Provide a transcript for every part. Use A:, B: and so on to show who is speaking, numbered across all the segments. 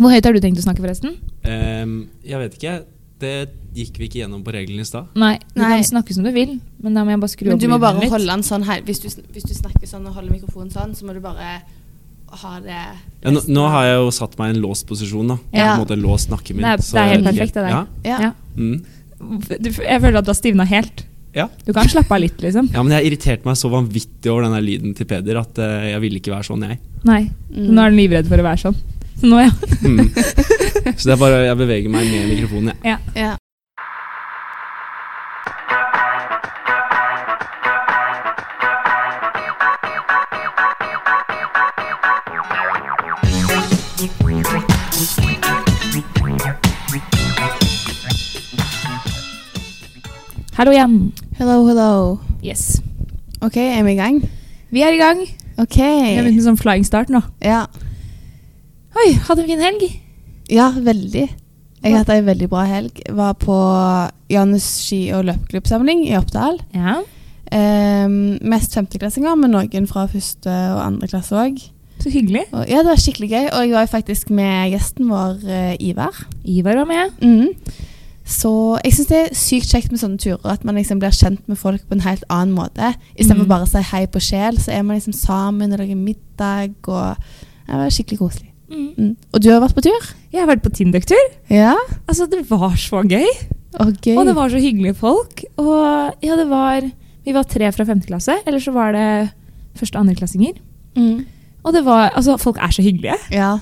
A: Hvor høyt har du tenkt å snakke, forresten?
B: Ehm, jeg vet ikke. Det gikk vi ikke gjennom på reglene i stad.
A: Nei, du
C: Nei.
A: kan snakke som du vil, men da må jeg bare skru
C: Men
A: opp
C: du må
A: lyden
C: bare
A: litt.
C: holde den sånn her. Hvis du, sn- hvis du snakker sånn og holder mikrofonen sånn, så må du bare ha det
B: Ja, nå, nå har jeg jo satt meg i en låst posisjon. da På
C: Ja.
B: en måte låst nakken min.
A: Det er-
B: så
A: det er helt
B: jeg-
A: perfekt av deg.
B: Ja.
C: Ja.
A: Ja.
B: Mm.
A: Du, jeg føler at du har stivna helt.
B: Ja.
A: Du kan slappe av litt, liksom.
B: ja, men jeg irriterte meg så vanvittig over den der lyden til Peder at eh, jeg ville ikke være sånn, jeg.
A: Nei.
C: Mm.
A: Nå er den livredd for å være sånn. Så nå, ja.
B: Mm. Så det er bare jeg beveger meg med mikrofonen, jeg.
C: Ja.
A: Hallo igjen.
C: Hello, hello.
A: Yes.
C: OK, er vi i gang?
A: Vi er i gang.
C: OK.
A: Vi har begynt med sånn flying start nå.
C: Ja.
A: Oi, hadde en fin helg.
C: ja, veldig. Jeg har hatt ei veldig bra helg. Var på Janus ski- og løpeklubbsamling i Oppdal.
A: Ja.
C: Ehm, mest femteklassinger, men noen fra første og andre klasse òg.
A: Så hyggelig.
C: Og, ja, det var skikkelig gøy. Og jeg var jo faktisk med gjesten vår, eh, Ivar.
A: Ivar var med.
C: Mhm. Så jeg syns det er sykt kjekt med sånne turer, at man liksom blir kjent med folk på en helt annen måte. Istedenfor
A: Mhm.
C: bare å si hei på sjel, så er man liksom sammen og lager middag og ja, Det var skikkelig koselig.
A: Mm.
C: Mhm. Og du har vært på tur?
A: Jeg har vært på Tindøktur.
C: Ja.
A: Altså, det var så gøy.
C: Og gøy.
A: Og det var så hyggelige folk. Og ja, det var Vi var tre fra femte klasse, eller så var det første- og andreklassinger.
C: Mhm.
A: Og det var Altså, folk er så hyggelige.
C: Ja.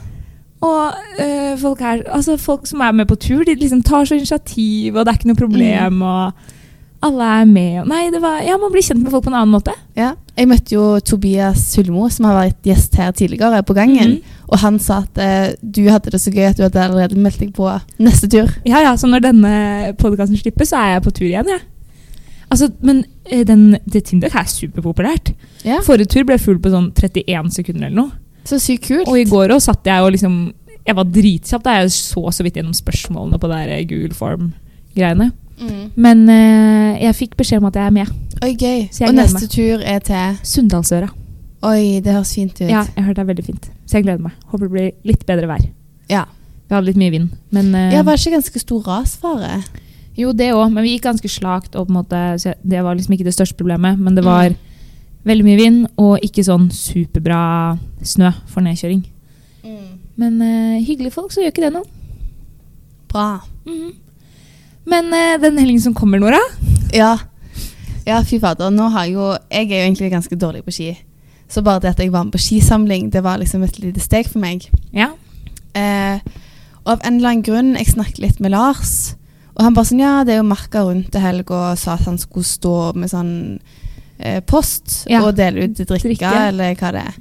A: Og øh, folk, er, altså, folk som er med på tur, de liksom tar så initiativ, og det er ikke noe problem, og alle er med. Og, nei, det var Ja, man blir kjent med folk på en annen måte.
C: Ja. Jeg møtte jo Tobias Hulmo, som har vært gjest her tidligere, på gangen.
A: Mhm.
C: Og han sa at eh, du hadde det så gøy at du hadde allerede meldt deg på neste tur.
A: Ja, ja, så når denne podkasten slipper, så er jeg på tur igjen, jeg. Altså, men øh, den, det Tinder er superpopulært.
C: Ja.
A: Forrige tur ble jeg full på sånn 31 sekunder eller noe.
C: Så sykt kult.
A: Og i går også satt jeg og liksom Jeg var dritkjapp. da. Jeg så så vidt gjennom spørsmålene på det der eh, Google Form-greiene.
C: Mm.
A: Men eh, jeg fikk beskjed om at jeg er med.
C: Oi, gøy.
A: Så jeg
C: Og
A: gleder
C: neste
A: meg.
C: tur er til
A: Sunndalsøra.
C: Oi, det høres fint ut.
A: Ja, jeg hørte det er veldig fint. Så jeg gleder meg. Håper det blir litt bedre vær.
C: Ja.
A: Vi hadde litt mye vind. Men, eh,
C: Ja, var det ikke ganske stor rasfare?
A: Jo, det òg, men vi gikk ganske slakt. Og på en måte, så jeg- det var liksom ikke det største problemet. Men det var
C: Mm.
A: veldig mye vind og ikke sånn superbra snø for nedkjøring. Men eh, hyggelige folk, så gjør ikke det noe.
C: Bra.
A: Mhm. Men eh, den helgen som kommer, Nora
C: Ja. ja, fy fader. Nå har jeg jo Jeg er jo egentlig ganske dårlig på ski. Så bare det at jeg var med på skisamling, det var liksom et lite steg for meg.
A: Ja.
C: Eh, og av en eller annen grunn, jeg snakket litt med Lars, og han bare sånn, ja, det er jo merka rundt til helg, og sa at han skulle stå med sånn eh, post
A: Ja.
C: og dele ut drikke,
A: Drikke.
C: eller hva det er.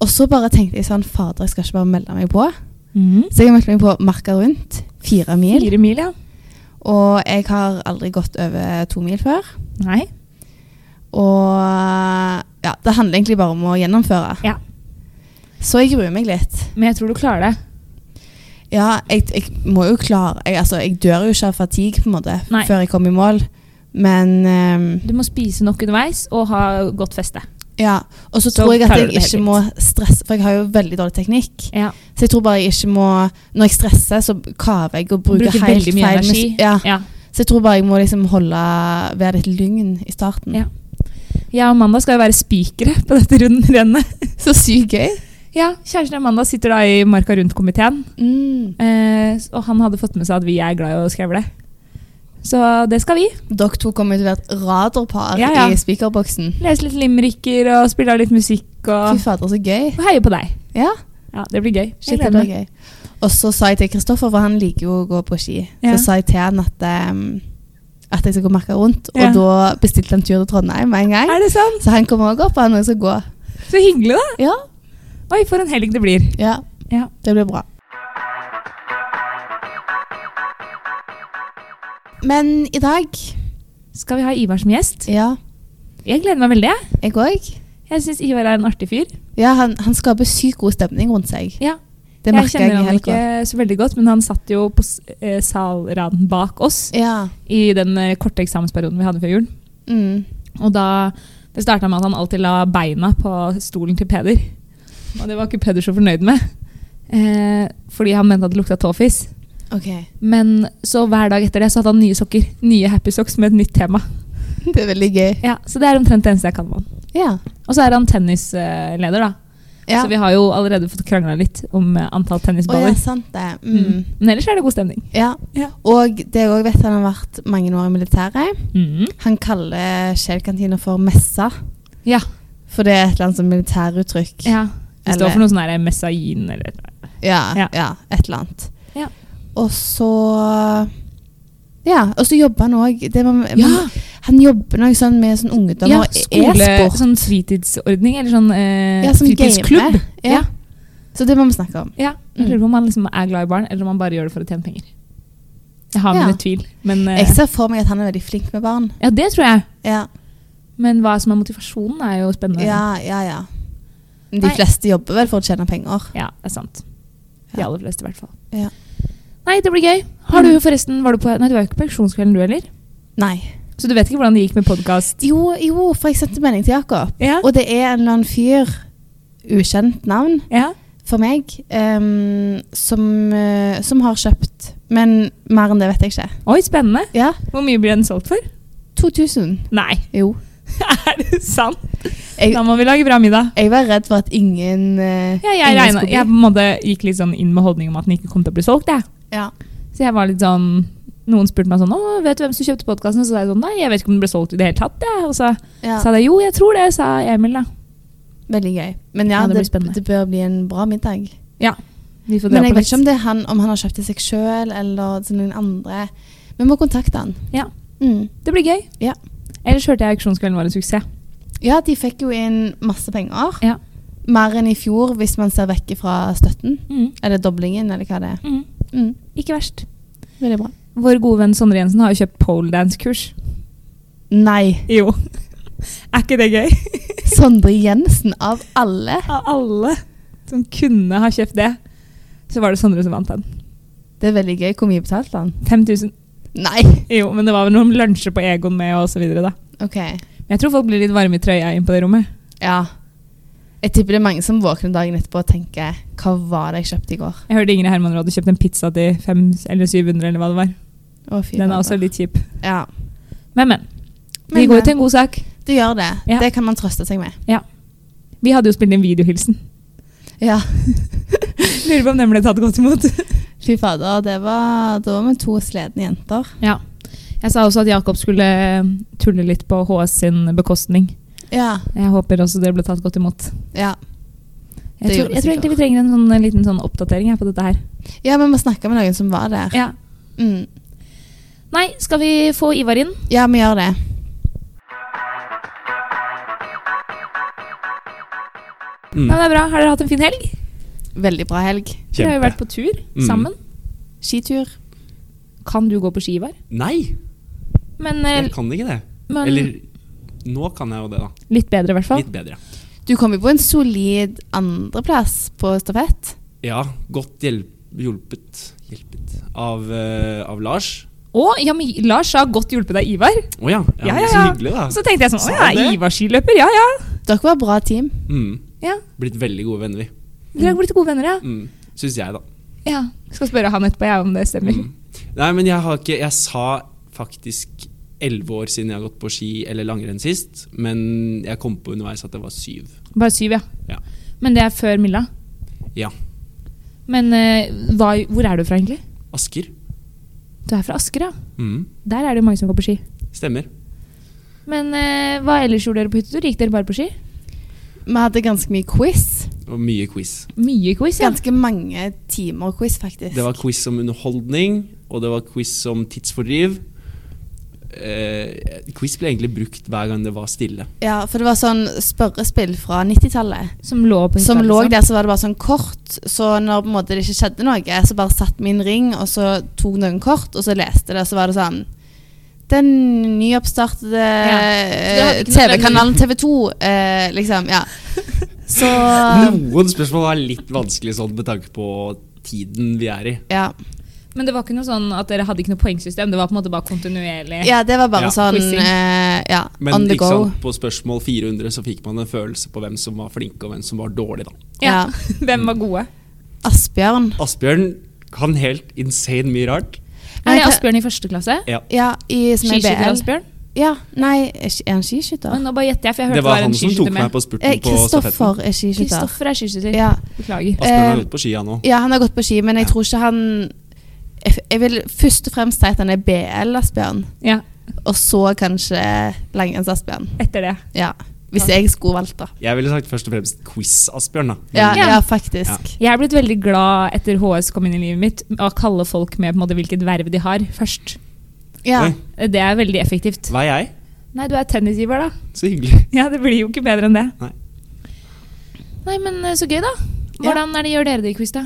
C: Og så bare tenkte jeg sånn, fader, jeg skal ikke bare melde meg på.
A: Mhm.
C: Så jeg meldte meg på merka rundt, fire mil,
A: Fire mil, ja.
C: og jeg har aldri gått over to mil før.
A: Nei.
C: Og ja, det handler egentlig bare om å gjennomføre.
A: Ja.
C: Så jeg gruer meg litt.
A: Men jeg tror du klarer det.
C: Ja, jeg, jeg må jo klare jeg, altså, jeg dør jo ikke av fatigue på en måte
A: Nei.
C: før jeg kommer i mål. Men ehm,
A: Du må spise nok underveis og ha godt feste.
C: ja. Og så
A: Så
C: tror jeg at
A: klarer
C: jeg
A: du det helt
C: ikke må stresse, for jeg har jo veldig dårlig teknikk.
A: Ja.
C: Så jeg tror bare jeg ikke må Når jeg stresser, så kaver jeg og bruker,
A: Bruker
C: helt
A: veldig mye
C: feil
A: energi.
C: mus- Ja.
A: Ja.
C: Så jeg tror bare jeg må liksom holde være litt lygn i starten.
A: Ja. Jeg og Amanda skal jo være spikere på dette rundt rennet.
C: Så sykt gøy.
A: Ja, Kjæresten til Amanda sitter da i Marka Rundt-komiteen,
C: Mm.
A: eh, og han hadde fått med seg at vi er glad i å skrevle. Så det skal vi.
C: Dere to kommer til å være et radarpar
A: Ja, ja.
C: i spikerboksen.
A: Lese litt limericker og spille av litt musikk og,
C: Fy fader, så gøy.
A: og heie på deg.
C: Ja,
A: Ja, Det blir gøy. Jeg
C: Shit,
A: gleder
C: det blir
A: meg.
C: gøy. Og så sa jeg til Kristoffer, for han liker jo å gå på ski,
A: Ja.
C: så sa jeg til han at, ehm, at jeg skal gå merka rundt. Og
A: Ja.
C: da bestilte han tur til Trondheim med en gang.
A: Er det sant?
C: Så han kommer også opp, og han også skal gå.
A: Så hyggelig, da.
C: Ja.
A: Oi, for en helg det blir.
C: ja,
A: Ja.
C: det blir bra. Men i dag
A: Skal vi ha Ivar som gjest?
C: Ja,
A: Jeg gleder meg veldig. jeg.
C: jeg òg.
A: Jeg syns Ivar er en artig fyr.
C: Ja, han, han skaper sykt god stemning rundt seg.
A: Ja.
C: Det
A: jeg
C: merker jeg,
A: kjenner
C: i
A: han
C: helga.
A: ikke så veldig godt, men han satt jo på s- eh, salraden bak oss
C: Ja.
A: i den eh, korte eksamensperioden vi hadde før jul.
C: Mm.
A: Og da Det starta med at han alltid la beina på stolen til Peder. Og det var ikke Peder så fornøyd med. Eh, fordi han mente at det lukta tåfis.
C: Ok.
A: Men så hver dag etter det så hadde han nye sokker. Nye Happy Socks med et nytt tema.
C: Det er veldig gøy.
A: Ja, Så det er omtrent det eneste jeg kan om han.
C: Ja.
A: Og så er han tennisleder, da.
C: ja.
A: Så vi har jo allerede fått krangla litt om eh, antall
C: Å ja,
A: tennisballer.
C: sant det. Mm.
A: Mm. Men ellers er det god stemning.
C: Ja.
A: Ja.
C: Og det jeg òg vet han har vært mange år i militæret.
A: Mm.
C: Han kaller Shell-kantina for messa,
A: Ja.
C: for det er et eller annet sånn militæruttrykk.
A: ja. Det
C: Eller-
A: står for noe sånn her messain eller
C: Ja, ja.
A: Ja.
C: et eller annet.
A: Ja.
C: Og så Ja, og så jobber han òg
A: Ja.
C: Han jobber noe sånn med sånn ungdom og e-sport.
A: Sånn fritidsordning eller sånn eh,
C: Ja, som
A: fritidsklubb.
C: gamer. Ja.
A: Ja.
C: Så det må vi snakke om.
A: Ja, jeg lurer på om han liksom er glad i barn, eller om han bare gjør det for å tjene penger. Jeg har
C: Ja.
A: mine tvil, men eh,
C: Jeg ser for meg at han er veldig flink med barn.
A: Ja, det tror jeg.
C: Ja,
A: Men hva som er motivasjonen, er jo spennende.
C: ja, ja. ja. Men De
A: Nei.
C: fleste jobber vel for å tjene penger.
A: Ja, det er sant. De
C: Ja.
A: aller fleste, i hvert fall.
C: Ja. Mm.
A: Nei, det blir gøy. Har du forresten var du på, Nei, du var jo ikke på auksjonskvelden, du heller.
C: Nei.
A: Så du vet ikke hvordan det gikk med podkast?
C: Jo, jo, for jeg sendte melding til Jakob.
A: Ja.
C: Og det er en eller annen fyr, ukjent navn
A: ja.
C: for meg, ehm, som, eh, som har kjøpt. Men mer enn det vet jeg ikke.
A: Oi, spennende.
C: Ja,
A: Hvor mye blir den solgt for?
C: 2000.
A: Nei,
C: Jo.
A: er det sant?
C: Jeg-
A: Da må vi lage bra middag.
C: Jeg var redd for at ingen eh,
A: Ja, jeg,
C: ingen
A: regnet-
C: skulle bli.
A: jeg på en måte gikk litt sånn inn med holdning om at den ikke kom til å bli solgt. Jeg.
C: Ja.
A: Så jeg var litt sånn Noen spurte meg sånn Å, vet du hvem som kjøpte podkasten? Så sa jeg sånn Nei, jeg vet ikke om den ble solgt i det hele tatt. Jeg. Og så
C: Ja.
A: sa de jo, jeg tror det, sa Emil, da.
C: Veldig gøy. Men ja,
A: Ja, det blir
C: det, det,
A: spennende.
C: bør bli en bra middag.
A: Vi får dra
C: Men jeg
A: på
C: vet
A: litt.
C: ikke om, det er han, om han har kjøpt til seg sjøl eller til noen andre. Vi må kontakte han.
A: Ja.
C: Mm.
A: Det blir gøy.
C: Ja.
A: Ellers hørte jeg auksjonskvelden var en suksess.
C: ja, de fikk jo inn masse penger.
A: Ja.
C: Mer enn i fjor, hvis man ser vekk fra støtten. Eller doblingen, eller hva det er.
A: Mm.
C: Mm.
A: Ikke verst.
C: Veldig bra.
A: Vår gode venn Sondre Jensen har jo kjøpt poledance-kurs.
C: Nei.
A: Jo. er ikke det gøy?
C: Sondre Jensen, av alle.
A: Av alle som kunne ha kjøpt det, så var det Sondre som vant den.
C: Det er veldig gøy. Hvor mye betalte han?
A: 5000.
C: Nei.
A: Jo, men det var vel noen lunsjer på Egon med og så videre, da.
C: Ok.
A: Men jeg tror folk blir litt varme i trøya inn på det rommet.
C: Ja. Jeg tipper det er mange som våkner dagen etterpå og tenker Hva var det jeg kjøpte i går?
A: Jeg hørte Ingrid Herman hadde kjøpt en pizza til 500 eller 700 eller hva det var.
C: Å, fy
A: Den er
C: fader.
A: også litt kjip.
C: Ja.
A: Men, men. Vi
C: Men,
A: går
C: men. eh,
A: jo til en god sak.
C: Det gjør det.
A: Ja.
C: Det kan man trøste seg med.
A: Vi hadde jo spilt inn videohilsen.
C: Ja.
A: Lurer på om den ble tatt godt imot.
C: Fy fader, det var, da var vi to sledne jenter.
A: Ja. Jeg sa også at Jakob skulle eh, tulle litt på HS sin bekostning.
C: Ja.
A: Jeg håper også det ble tatt godt imot.
C: Ja,
A: Jeg tror,
C: Det gjorde det
A: jeg tror
C: sikkert.
A: egentlig vi trenger en sånn, en liten sånn oppdatering her på dette her.
C: ja vi må snakke med noen som var der.
A: Ja.
C: Mm.
A: Nei, skal vi få Ivar inn?
C: ja vi gjør det. Mm.
A: Ja, men det er bra. Har dere hatt en fin helg?
C: Veldig bra helg.
A: Dere har jo vært på tur
B: Mm.
A: sammen.
C: Skitur.
A: Kan du gå på ski, Ivar?
B: Nei,
A: Men,
B: jeg
A: eh,
B: kan ikke det.
A: men
B: Eller nå kan jeg jo det, da.
A: litt bedre, i hvert fall.
B: Litt bedre.
C: Du kom jo på en solid andreplass på stafett.
B: Ja, godt hjelp, hjulpet Hjulpet av, eh, av Lars.
A: Å, ja, men Lars sa godt hjulpet av Ivar.
B: Å ja, ja,
A: Ja,
B: men
A: ja,
B: Så
A: ja.
B: hyggelig, da.
A: Så tenkte jeg sånn,
B: Sa
A: å
B: han
A: ja,
B: det?
A: Ivar skiløper, ja ja.
C: Dere var et bra team.
B: Mm.
A: ja.
B: Blitt veldig gode venner, vi.
A: Dere har blitt gode venner, ja.
B: Mm. Syns jeg, da.
A: ja. Skal spørre han etterpå jeg, om det stemmer.
B: Mm. Nei, men jeg har ikke Jeg sa faktisk elleve år siden jeg har gått på ski eller langrenn sist, men jeg kom på underveis at det var syv.
A: Bare syv, ja.
B: Ja.
A: Men det er før Milla.
B: Ja.
A: Men eh, hva, hvor er du fra, egentlig?
B: Asker.
A: Du er fra Asker, ja.
B: Mm.
A: Der er det jo mange som går på ski.
B: Stemmer.
A: Men eh, hva ellers gjorde dere på hyttetur? Gikk dere bare på ski?
C: Vi hadde ganske mye quiz.
B: Og mye quiz.
A: Mye quiz, ja.
C: Ganske mange timer quiz, faktisk.
B: Det var quiz om underholdning, og det var quiz om tidsfordriv. Eh, quiz ble egentlig brukt hver gang det var stille.
C: Ja, for det var sånn spørrespill fra 90-tallet.
A: Som lå på hytta.
C: Som lå
A: liksom.
C: der, så var det bare sånn kort. Så når på en måte det ikke skjedde noe, så bare satt min ring, og så tok noen kort, og så leste det, og så var det sånn Den nyoppstartede eh,
A: Så det hadde ikke noe
C: TV-kanalen TV2, eh, liksom. Ja. Så Ah.
B: Noen spørsmål er litt vanskelig sånn med tanke på tiden vi er i.
C: ja.
A: Men det var ikke noe sånn at dere hadde ikke noe poengsystem? Det var på en måte bare kontinuerlig?
C: ja, det var bare
B: Ja.
C: sånn
A: Quizzing.
C: eh, ja,
B: Men
C: on the
B: ikke
C: go.
B: sant, på spørsmål 400 så fikk man en følelse på hvem som var flinke og hvem som var dårlig. Da.
A: Ja. Hvem var gode?
C: Asbjørn.
B: Asbjørn kan helt insane mye rart.
C: Nei,
A: Er det
C: det-
A: Asbjørn i første klasse?
B: Ja.
C: Ja, i, som er BL.
A: Skiskytter-Asbjørn?
C: Ja, nei, er ikke- er han skiskytter?
A: Å, Nå bare gjetter jeg, for jeg hørte
B: Det var han som tok meg på
C: Eh,
B: spurten på stafetten.
C: Kristoffer er skiskytter.
A: Kristoffer er skiskytter.
C: Ja.
A: Beklager.
B: Asbjørn har
C: eh,
B: gått på ski, han òg.
C: ja, han har gått på ski, men jeg
B: Ja.
C: tror ikke han jeg, jeg vil først og fremst si at han er BL Asbjørn,
A: Ja,
C: og så kanskje Langrenns Asbjørn.
A: etter det.
C: Ja. Hvis jeg skulle valgt, da.
B: Jeg ville sagt først og fremst quiz-Asbjørn, da. Men
C: Ja,
A: Ja.
C: ja faktisk.
A: Jeg er blitt veldig glad etter HS kom inn i livet mitt, å kalle folk med på en måte hvilket verv de har, først.
C: Ja.
B: Oi.
A: Det er veldig effektivt.
B: hva er jeg?
A: Nei, du er tennisgiver, da.
B: Så hyggelig.
A: Ja, det blir jo ikke bedre enn det.
B: Nei.
A: Nei, men eh, så gøy, da.
C: Ja.
A: Hvordan er det gjør dere det i quiz, da?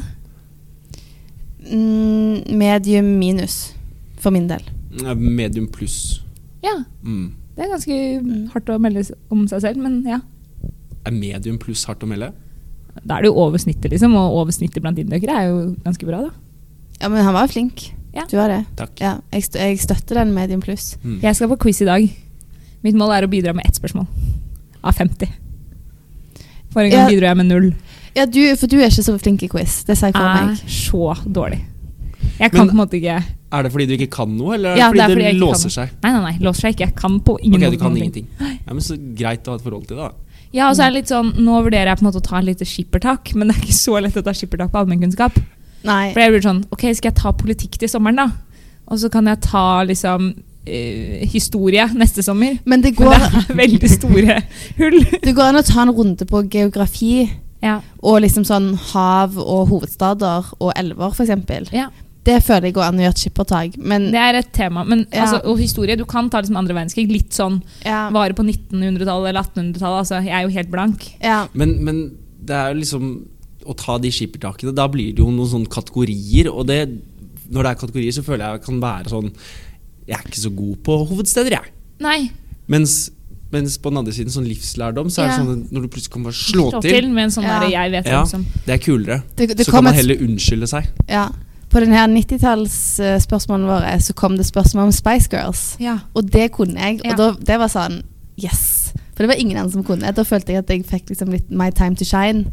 C: Mm, medium minus, for min del.
B: Medium pluss.
A: Ja,
B: Mm.
A: det er ganske hardt å melde s- om seg selv, men ja.
B: Er medium pluss hardt å melde?
A: Da er det jo over snittet, liksom, og over snittet blant innbyggere er jo ganske bra, da.
C: Ja, men han var jo flink.
A: Ja.
C: Du var det.
B: Takk.
C: Ja, jeg, stø jeg støtter den medium pluss.
B: Mm.
A: Jeg skal på quiz i dag. Mitt mål er å bidra med ett spørsmål av 50. Forrige gang
C: Ja.
A: bidro jeg med null.
C: Ja, du, for du er ikke så flink i quiz. Det sier jeg for
A: Er
C: meg.
A: så dårlig. Jeg kan
B: Men-
A: på en måte ikke
B: Er det fordi du ikke kan noe, eller er det
A: Ja,
B: fordi
A: det er
B: det,
A: fordi jeg ikke
B: låser
A: kan.
B: seg?
A: Nei, nei, nei, låser seg ikke. Jeg kan på ingen
B: Ok,
A: måte
B: du kan
A: noen ting.
B: ingenting. Ja, men så greit å ha et forhold til det, da.
A: Ja, og så er det litt sånn, Nå vurderer jeg på en måte å ta en lite skippertak, men det er ikke så lett å ta skippertak på allmennkunnskap.
C: Nei.
A: For jeg blir sånn, ok, Skal jeg ta politikk til sommeren, da? Og så kan jeg ta liksom eh, historie neste sommer.
C: Men det
A: Men
C: går,
A: det er veldig store hull.
C: det går an å ta en runde på geografi.
A: Ja,
C: Og liksom sånn hav og hovedstader og elver, f.eks.
A: ja,
C: Det føler jeg går an å gjøre et skippertak. Men
A: Det er et tema. Men,
C: Mm. Ja.
A: altså, og historie. Du kan ta liksom andre verdenskrig. Litt sånn
C: ja,
A: vare på 1900-tallet eller 1800-tallet. Altså, jeg er jo helt blank.
C: ja,
B: Men, men det er jo liksom Å ta de skippertakene, da blir det jo noen sånne kategorier, og det Når det er kategorier, så føler jeg jeg kan være sånn Jeg er ikke så god på hovedsteder, jeg.
A: Nei.
B: Mens, mens på den andre siden, sånn livslærdom, så er
A: Ja.
B: det sånn at når du plutselig kan bare
A: til
B: slå, til,
A: med en sånn
C: Ja.
A: der, jeg vet
B: Ja.
A: liksom.
B: det er kulere.
C: det, det
B: så kan
C: kom
B: man
C: et,
B: heller unnskylde seg.
C: ja. På denne 90-tallsspørsmålene eh, våre så kom det spørsmål om Spice Girls.
A: Ja.
C: Og det kunne jeg. Og
A: Ja.
C: da, det var sånn Yes! For det var ingen andre som kunne. Da følte jeg at jeg fikk liksom litt my time to shine.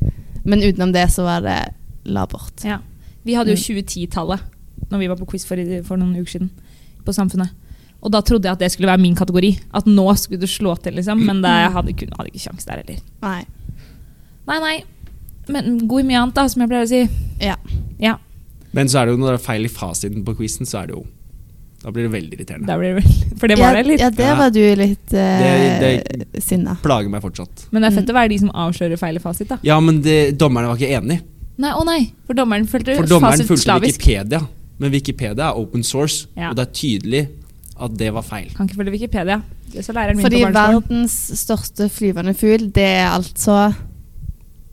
C: Men utenom det så var det labert.
A: Ja. Vi hadde jo
C: Mm.
A: 2010-tallet når vi var på quiz for, for noen uker siden på Samfunnet. Og da trodde jeg at det skulle være min kategori. At nå skulle du slå til, liksom. Men det jeg hadde, kun, hadde ikke sjans der heller.
C: Nei.
A: Nei, nei. Men god i mye annet, da, som jeg pleier å si.
C: Ja.
A: Ja,
B: Men så er det jo når det er feil i fasiten på quizen, så er det jo Da blir det veldig irriterende.
A: da blir det vel For det var
C: ja,
A: det litt.
C: Ja, der
B: Ja.
C: var du litt eh,
B: Det-
C: sinna.
B: Plager meg fortsatt.
A: Men det er fett å være de som avslører feil i fasit, da.
B: Ja, men det, dommerne var ikke enig.
A: Nei, å nei! For dommeren fulgte
B: For dommeren
A: fasit
B: fulgte
A: slavisk.
B: Wikipedia, men Wikipedia er open source,
A: Ja.
B: og det er tydelig at det var feil.
A: Kan ikke følge Wikipedia. Det sa læreren min
C: Fordi
A: på barneskolen.
C: verdens største flyvende fugl, det er altså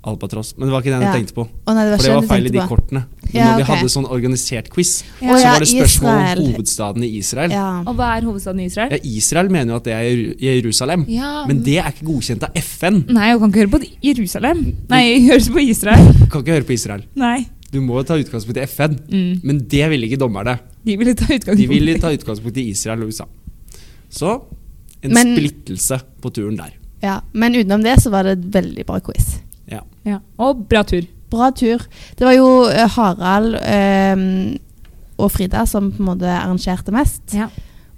B: Albatross. Men det var ikke den jeg
C: Ja.
B: tenkte på.
C: Å nei, det
B: For
C: var ikke
B: det
C: den
B: var
C: du
B: feil i de
C: tenkte på.
B: kortene. Men
C: Ja,
B: når vi
C: ok.
B: hadde sånn organisert quiz,
A: Ja.
B: så
C: Å, ja,
B: var det spørsmål
C: Israel.
B: om hovedstaden i Israel. Ja.
C: Ja.
A: Og hva er hovedstaden i Israel?
B: Israel mener jo at det er Jeru- Jerusalem,
A: Ja,
B: men det er ikke godkjent av FN.
C: Mm.
A: Nei, hun kan ikke høre på Jerusalem. Nei, høres på Israel.
B: Du kan ikke høre på Israel.
A: Nei.
B: Du må ta utgangspunkt i FN.
A: Mm.
B: Men det ville ikke dommerne.
A: De ville ta utgangspunkt
B: De ville ta utgangspunkt i Israel og USA. Så en
C: Men-
B: splittelse på turen der.
C: ja. Men utenom det så var det et veldig bra quiz.
B: Ja.
A: ja. Og bra tur.
C: Bra tur. Det var jo eh, Harald eh, og Frida som på en måte arrangerte mest,
A: Ja.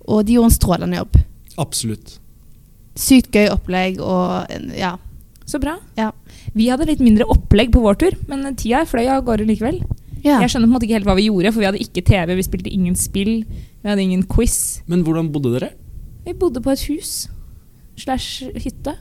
C: og de gjorde en strålende jobb.
B: Absolutt.
C: Sykt gøy opplegg og eh, ja.
A: Så bra.
C: Ja.
A: Vi hadde litt mindre opplegg på vår tur, men tida fløy av gårde likevel.
C: ja.
A: Jeg skjønner på en måte ikke helt hva vi gjorde, for vi hadde ikke TV, vi spilte ingen spill, vi hadde ingen quiz.
B: Men hvordan bodde dere?
A: Vi bodde på et hus slash hytte.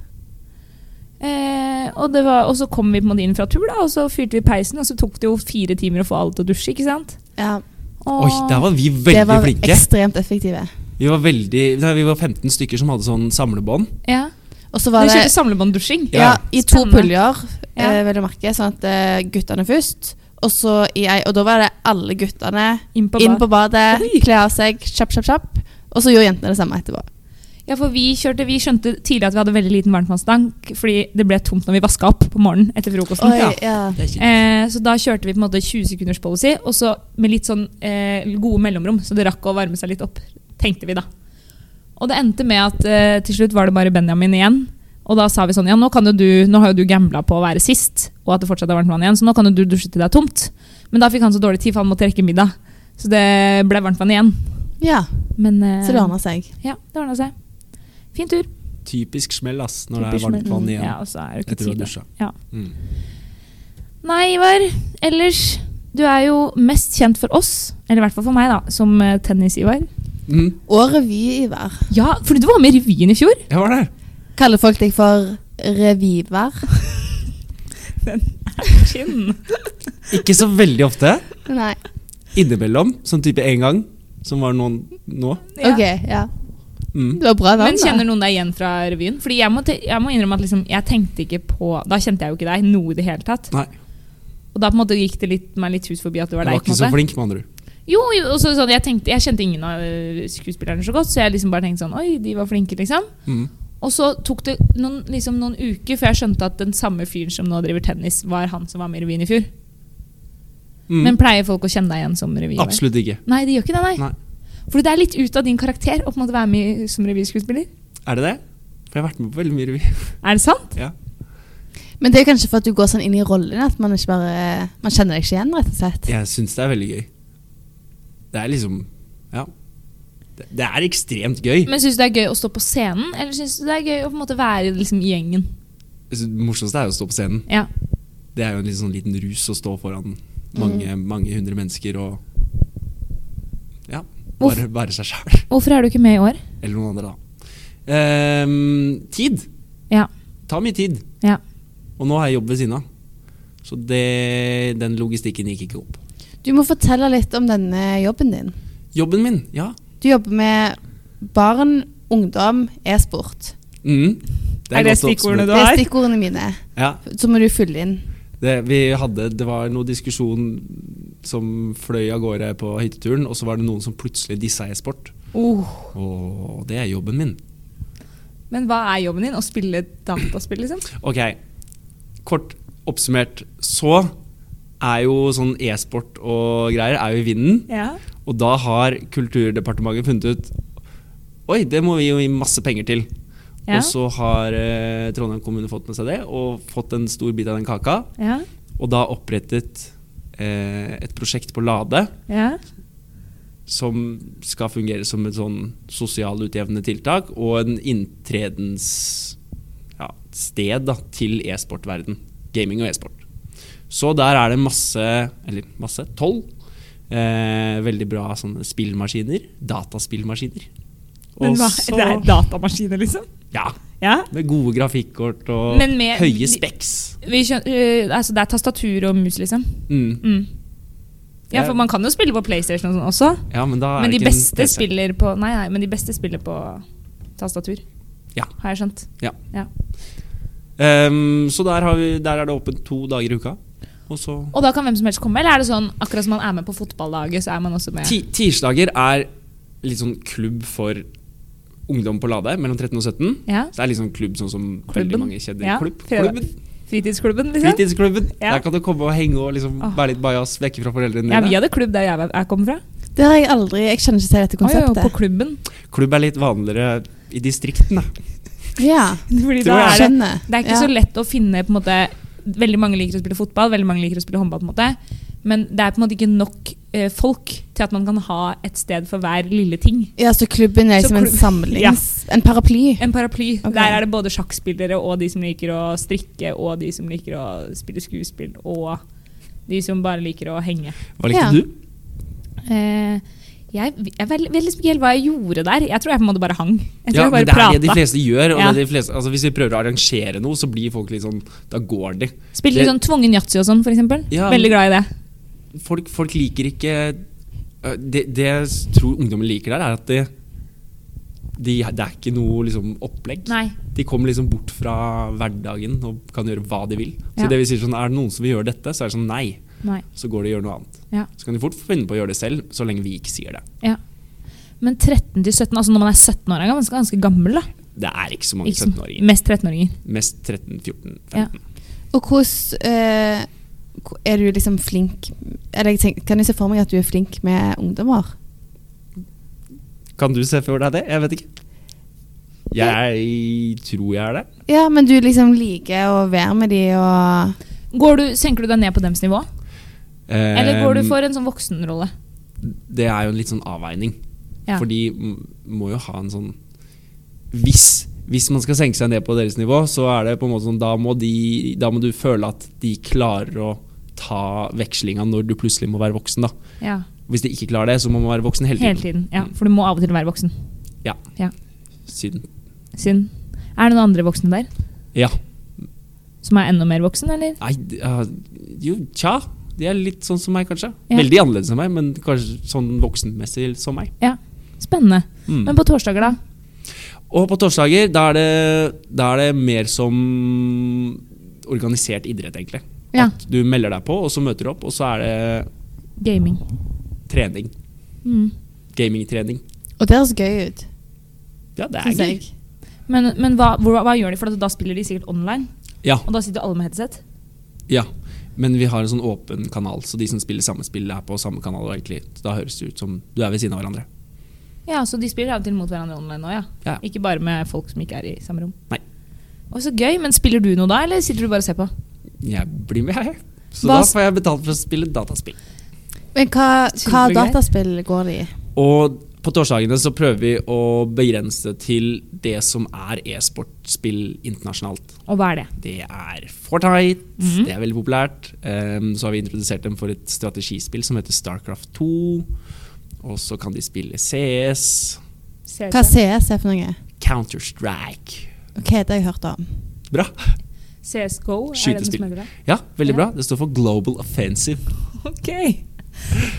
A: Eh, og, det var, og så kom vi på en måte inn fra tur, da, og så fyrte vi peisen, og så tok det jo fire timer å få alle til å dusje, ikke sant?
C: ja.
A: Og
B: Oi, der var vi veldig
C: Det var
B: flinke.
C: ekstremt effektive.
B: Vi var, veldig, nei, vi var 15 stykker som hadde sånn samlebånd.
A: ja.
C: Og så
A: Dere
C: var det
A: kjørte samlebånddusjing?
B: Ja.
C: Ja, i to
A: Spennende.
C: puljer,
A: Ja.
C: eh, vil jeg merke. Sånn at eh, guttene først. Og, så i ei, og da var det alle guttene
A: Inn på
C: inn
A: bad.
C: på badet,
A: Oi.
C: kle av seg, kjapp, kjapp, kjapp. Og så gjorde jentene det samme etterpå.
A: Ja, for vi kjørte, vi skjønte tidlig at vi hadde veldig liten varmtvannstank, fordi det ble tomt når vi vaska opp på morgenen etter frokosten.
C: Oi, ja.
B: Det er kjipt.
A: Eh, så da kjørte vi på en måte 20 sekunders policy, og så med litt sånn eh, gode mellomrom, så det rakk å varme seg litt opp, tenkte vi da. Og det endte med at eh, til slutt var det bare Benjamin igjen, Og da sa vi sånn, ja nå, kan jo du, nå har jo du gambla på å være sist, og at det fortsatt er varmt vann igjen, så nå kan jo du dusje til det er tomt. Men da fikk han så dårlig tid, for han måtte rekke middag. Så det ble varmt vann igjen.
C: Ja,
A: Men eh,
C: så det ordna seg.
A: Ja, det ordna seg. Fin tur.
B: Typisk smell ass, når
A: Typisk
B: det er varmt
A: smell.
B: vann igjen.
A: Ja, og så er det ikke
B: Etter å ha
A: tid. da.
B: dusja.
A: Ja.
B: Mm.
A: Nei, Ivar. Ellers, du er jo mest kjent for oss, eller i hvert fall for meg, da, som eh, tennis-Ivar.
B: Mm.
C: Og revyiver.
A: Ja, fordi du var med i revyen i fjor.
B: Jeg var der.
C: Kaller folk deg for reviver?
B: Ikke så veldig ofte.
C: Nei.
B: Innimellom, sånn type én gang, som var noen nå.
A: Ja.
C: Ok, ja.
B: Mm.
C: Det var bra navn,
A: Men kjenner noen deg igjen fra revyen? Fordi jeg må, te- jeg må innrømme at liksom, jeg tenkte ikke på Da kjente jeg jo ikke deg noe i det hele tatt.
B: Nei,
A: Og da på en måte gikk det litt, meg litt hus forbi at det
B: jeg
A: var
B: var
A: deg. på
B: ikke
A: en
B: så
A: måte.
B: flink, med andre ord.
A: Jo, jo, og så, sånn, jeg, tenkte, jeg kjente ingen av øh, skuespillerne så godt, så jeg liksom bare tenkte sånn Oi, de var flinke, liksom.
B: Mm.
A: Og så tok det noen, liksom, noen uker før jeg skjønte at den samme fyren som nå driver tennis, var han som var med i revyen i fjor.
B: Mm.
A: Men pleier folk å kjenne deg igjen som revyer?
B: Absolutt ikke.
A: Nei, de gjør ikke det, nei.
B: Nei.
A: For det er litt ut av din karakter å på en måte være med i- som revyskuespiller.
B: Er det det? For jeg har vært med på veldig mye revy.
A: Er det sant?
B: Ja.
C: Men det er kanskje for at du går sånn inn i rollen at man ikke bare Man kjenner deg ikke igjen, rett og slett.
B: Jeg syns det er veldig gøy. Det er liksom Ja. Det, det er ekstremt gøy.
A: Men syns du det er gøy å stå på scenen, eller syns du det er gøy å på en måte være liksom, i gjengen?
B: Altså, Det morsomste er jo å stå på scenen.
A: Ja.
B: Det er jo en litt sånn liten rus å stå foran mange,
A: Mm.
B: mange hundre mennesker og Ja. Bare være seg sjæl.
A: Hvorfor er du ikke med i år?
B: Eller noen andre, da. Ehm, tid.
A: Ja.
B: Ta mye tid.
A: ja.
B: Og nå har jeg jobb ved siden av. Så det, den logistikken gikk ikke opp.
C: Du må fortelle litt om denne jobben din.
B: Jobben min, ja.
C: Du jobber med barn, ungdom, e-sport.
B: Mm.
A: Er det
B: godt å
A: stikkordene
B: oppsummere.
A: Du
C: Det er
A: har?
C: stikkordene mine.
B: Ja.
C: Så må du fylle inn.
B: Det, vi hadde, det var noe diskusjon som fløy av gårde på hytteturen, og så var det noen som plutselig dissa e-sport.
A: Oh.
B: Og det er jobben min.
A: Men hva er jobben din? Å spille dataspill, liksom?
B: Ok, kort oppsummert så er jo sånn e-sport og greier er jo i vinden.
A: Ja.
B: Og da har Kulturdepartementet funnet ut Oi, det må vi jo gi masse penger til.
A: Ja.
B: Og så har eh, Trondheim kommune fått med seg det, og fått en stor bit av den kaka.
A: Ja.
B: Og da opprettet eh, et prosjekt på Lade
A: ja.
B: som skal fungere som et sånn sosial utjevnende tiltak og en inntredens ja, sted da, til e-sportverden. Gaming og e-sport. Så der er det masse, eller masse, tolv eh, veldig bra sånne spillmaskiner. Dataspillmaskiner.
A: Men hva,
B: så-
A: det er datamaskiner, liksom?
B: Ja.
A: Ja.
B: Med gode grafikkort og
A: Men med-
B: høye speks.
A: Vi skjøn, øh, altså, det er tastatur og mus, liksom?
B: Mm.
A: Mm. Ja,
B: Ja.
A: for man kan jo spille på PlayStation og sånn også.
B: Ja, men da er
A: Men de
B: det ikke en
A: beste
B: PC.
A: spiller på Nei, nei, men de beste spiller på tastatur.
B: Ja.
A: Har jeg skjønt.
B: Ja.
A: Ja.
B: Ehm, så der, har vi, der er det åpent to dager i uka. Og så
A: Og da kan hvem som helst komme? Eller er det sånn akkurat som man er med på fotballaget, så er man også med?
B: Ti tirsdager er litt sånn klubb for ungdom på Lade, mellom 13 og 17.
A: Ja.
B: Så det er litt sånn klubb sånn som
A: Klubben.
B: veldig mange kjenner.
A: Ja,
B: Klubb.
A: fredag.
B: Klubben.
A: Fritidsklubben, liksom?
B: Fritidsklubben.
A: Ja.
B: Der kan du komme og henge og liksom
A: Åh.
B: være litt bajas, vekke fra foreldrene
A: Ja,
B: dine.
A: vi hadde klubb der jeg, jeg kom fra.
C: Det har jeg aldri Jeg kjenner ikke til dette
A: Oi, oi, på
C: konseptet.
A: klubben.
B: Klubb er litt vanligere i distriktene.
C: Ja,
A: Fordi
B: Tror
A: da
B: jeg.
A: er det,
C: skjønner.
A: det er ikke
C: ja.
A: så lett å finne på en måte, Veldig mange liker å spille fotball, veldig mange liker å spille håndball. på en måte Men det er på en måte ikke nok eh, folk til at man kan ha et sted for hver lille ting.
C: Ja, så klubben er
A: Så
C: liksom en
A: klubb-
C: samlings...
A: Ja.
C: En paraply.
A: En paraply.
C: Ok.
A: Der er det både sjakkspillere og de som liker å strikke, og de som liker å spille skuespill, og de som bare liker å henge.
B: Hva likte
C: Ja.
B: du?
A: Eh, jeg jeg vel- vet liksom ikke helt hva jeg gjorde der. Jeg tror jeg på en måte bare hang. Jeg tror
B: Ja,
A: jeg bare
B: men det er det de
A: prata.
B: fleste gjør. Og
A: Ja.
B: det de fleste, altså hvis vi prøver å arrangere noe, så blir folk litt sånn Da går de.
A: Spilte litt
B: Det-
A: sånn tvungen yatzy og sånn, for eksempel.
B: Ja,
A: Veldig
B: men-
A: glad i det.
B: Folk, folk liker ikke øh, Det, det jeg tror ungdommen liker der, er at det, de, det er ikke noe liksom, opplegg.
A: Nei.
B: De kommer liksom bort fra hverdagen og kan gjøre hva de vil. Så
A: Ja.
B: det vi sier sånn, Er det noen som vil gjøre dette, så er det sånn nei.
A: Nei.
B: Så går de og gjør noe annet.
A: Ja.
B: Så kan de fort finne på å gjøre det selv, så lenge vi ikke sier det.
A: Ja. Men 13 til 17, altså når man er 17 år, er man ganske, ganske gammel, da.
B: Det er ikke så mange
A: Ikke som-
B: 17-åringer.
A: Mest 13-åringer.
B: Mest 13-14-15.
A: Ja.
C: Og hvordan eh, ko- Er du liksom flink Eller jeg tenker, Kan jeg se for meg at du er flink med ungdommer?
B: Kan du se for deg det? Jeg vet ikke. Jeg tror jeg er det.
C: Ja, men du liksom liker å være med de og
A: Går du, senker du deg ned på dems nivå? Eller går du
B: Ehm,
A: for en sånn voksenrolle?
B: Det er jo en litt sånn avveining.
A: Ja.
B: For de m- må jo ha en sånn hvis, hvis man skal senke seg ned på deres nivå, så er det på en måte sånn da må, de, da må du føle at de klarer å ta vekslinga når du plutselig må være voksen. da
A: Ja,
B: Hvis de ikke klarer det, så må man være voksen hele
A: Hele
B: tiden.
A: tiden.
B: Mm.
A: Ja, for du må av og til være voksen.
B: Siden.
A: Synd. Er det noen andre voksne der
B: Ja.
A: som er enda mer voksen, eller?
B: Nei, d- ja, jo, tja. De er litt sånn som meg, kanskje.
A: Ja.
B: Veldig annerledes enn meg, men kanskje sånn voksenmessig som meg.
A: Spennende.
B: Mm.
A: Men på torsdager, da?
B: Og på torsdager, da er det, da er det mer som organisert idrett, egentlig.
A: Ja.
B: At du melder deg på, og så møter du opp, og så er det
A: Gaming.
B: trening.
A: Mm.
B: Gamingtrening.
C: Og det høres gøy ut.
B: Ja, det er
C: synes
B: gøy.
C: jeg.
A: Men, men hva, hvor, hva gjør de? For at da spiller de sikkert online,
B: Ja,
A: og da sitter alle med headset.
B: ja. Men vi har en sånn åpen kanal, så de som spiller samme spill, er på samme kanal. egentlig. Så Da høres det ut som du er ved siden av hverandre.
A: Ja, Så de spiller av og til mot hverandre online òg, ja.
B: Ja.
A: Ikke bare med folk som ikke er i samme rom.
B: Nei.
A: Å, så gøy. Men spiller du noe da, eller sitter du bare og ser på?
B: Jeg blir med, jeg. Så
A: Hva
B: da
A: s-
B: får jeg betalt for å spille dataspill.
C: Men hva, hva
A: Kjempegøy.
C: dataspill går det i?
B: Og på torsdagene så prøver vi å begrense det til det som er e-sportspill internasjonalt.
A: Og hva er det?
B: Det er Fortnite,
A: Mhm.
B: det er veldig populært. Ehm, så har vi introdusert dem for et strategispill som heter Starcraft 2. Og så kan de spille CS,
C: Hva CS er for noe?
B: Counter-Strike.
C: Ok, det har jeg hørt om.
B: Bra.
A: CSGO? Er det den
B: Skytespill.
A: som heter det?
B: Ja,
A: Ja.
B: veldig bra. Det står for Global Offensive.
A: Ok.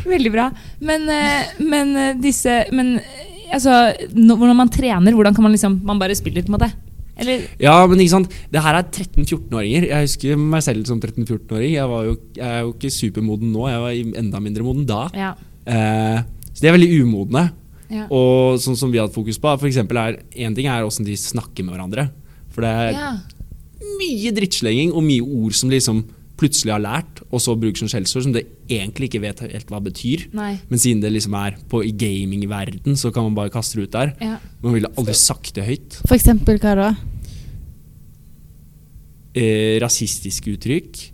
A: Veldig bra. Men, eh, men eh, disse Men eh, altså, nå- når man trener, hvordan kan man liksom Man bare spiller, på en måte? Eller
B: Ja, men ikke sant. Det her er 13-14-åringer. Jeg husker meg selv som 13-14-åring. Jeg, var jo- jeg er jo ikke supermoden nå, jeg var i- enda mindre moden da.
A: Ja.
B: Eh, så de er veldig umodne.
A: ja.
B: Og sånn som vi hadde fokus på, for eksempel er én ting er åssen de snakker med hverandre. For det er
A: ja.
B: mye drittslenging og mye ord som de liksom plutselig har lært, og så bruker som skjellsord som det egentlig ikke vet helt hva betyr.
A: Nei.
B: Men siden det liksom er på i gamingverden, så kan man bare kaste det ut der.
A: Ja.
B: Man ville aldri sagt det høyt.
C: For eksempel hva da?
B: Eh, rasistiske uttrykk,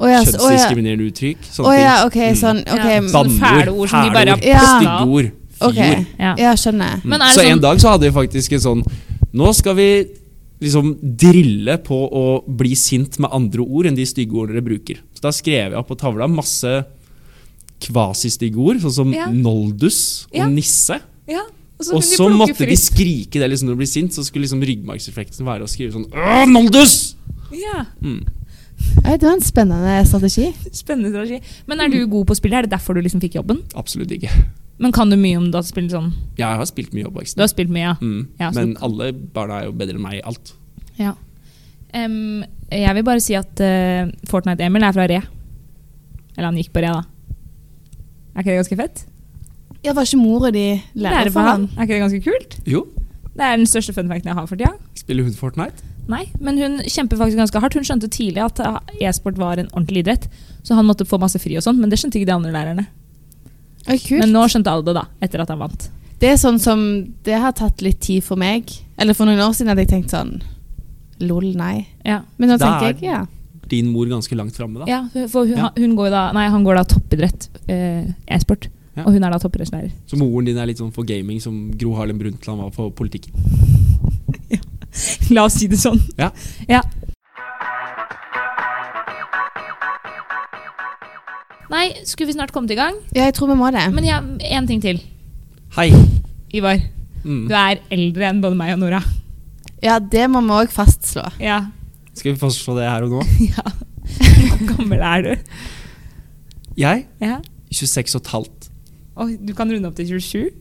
C: Å ja, så- å ja.
B: kjønnsdiskriminerende uttrykk,
C: Å
B: sånne
C: ja, ok,
B: Mm.
C: sånn. ok,
A: Ja.
C: m-
A: Sånn fæle ord som de bare har
B: fæle ord,
C: plukket
B: stygge
A: opp.
B: ord,
C: ok.
B: fyr.
A: Ja.
C: Ja, skjønner.
A: Men er
B: Mm. så
A: det sånn-
B: en dag så hadde vi faktisk en sånn Nå skal vi liksom drille på å bli sint med andre ord enn de stygge ordene dere bruker. Så da skrev jeg opp på tavla masse kvasistygge ord, sånn som
A: Ja.
B: noldus og
A: Ja.
B: nisse.
A: ja.
B: Og så måtte de skrike det liksom når de ble sint, så skulle liksom ryggmargsrefleksen være å skrive sånn Åh, noldus!
A: Ja,
B: Mm.
C: Oi, det var en spennende strategi.
A: Spennende strategi. Men er du god på å spille? Er det derfor du liksom fikk jobben?
B: Absolutt ikke.
A: Men kan du mye om dataspill? Sånn?
B: Jeg har spilt mye
A: Du
B: i oppveksten.
A: har spilt mye, ja.
B: Mm.
A: Ja, så-
B: Men alle barna er jo bedre enn meg i alt.
A: ja. Em, jeg vil bare si at eh, Fortnite-Emil er fra Re. Eller han gikk på Re, da. Er ikke det ganske fett?
C: Ja, var ikke mora di lærer for han?
A: Er ikke det ganske kult?
B: Jo,
A: Det er den største funfacten jeg har for tida.
B: spiller hun Fortnite?
A: Nei, men hun kjemper faktisk ganske hardt. Hun skjønte tidlig at eh, e-sport var en ordentlig idrett, så han måtte få masse fri og sånn, men det skjønte ikke de andre lærerne.
C: Oi, kult.
A: Men nå skjønte alle det, da, etter at han vant.
C: Det er sånn som Det har tatt litt tid for meg. Eller for noen år siden hadde jeg tenkt sånn Lol, nei.
A: Ja,
C: Men nå
B: Da
C: tenker
B: er-
C: jeg ja.
B: Din mor ganske langt framme, da.
A: ja for hun,
B: Ja.
A: hun går jo da, nei, han går da toppidrett, eh, e-sport,
B: Ja.
A: og hun er da toppidrettslærer.
B: Så moren din er litt sånn for gaming som Gro Harlem Brundtland var for politikk.
A: La oss si det sånn.
B: Ja.
A: Ja. Nei, skulle vi snart kommet i gang?
C: ja, jeg tror vi må det.
A: Men jeg har én ting til,
B: Hei!
A: Ivar.
B: Mm.
A: Du er eldre enn både meg og Nora.
C: Ja, det må vi òg fastslå.
A: Ja.
B: Skal vi fastslå det her og nå?
A: ja. Hvor gammel er du?
B: Jeg,
A: Ja.
B: 26 og et halvt.
A: Og du kan runde opp til 27.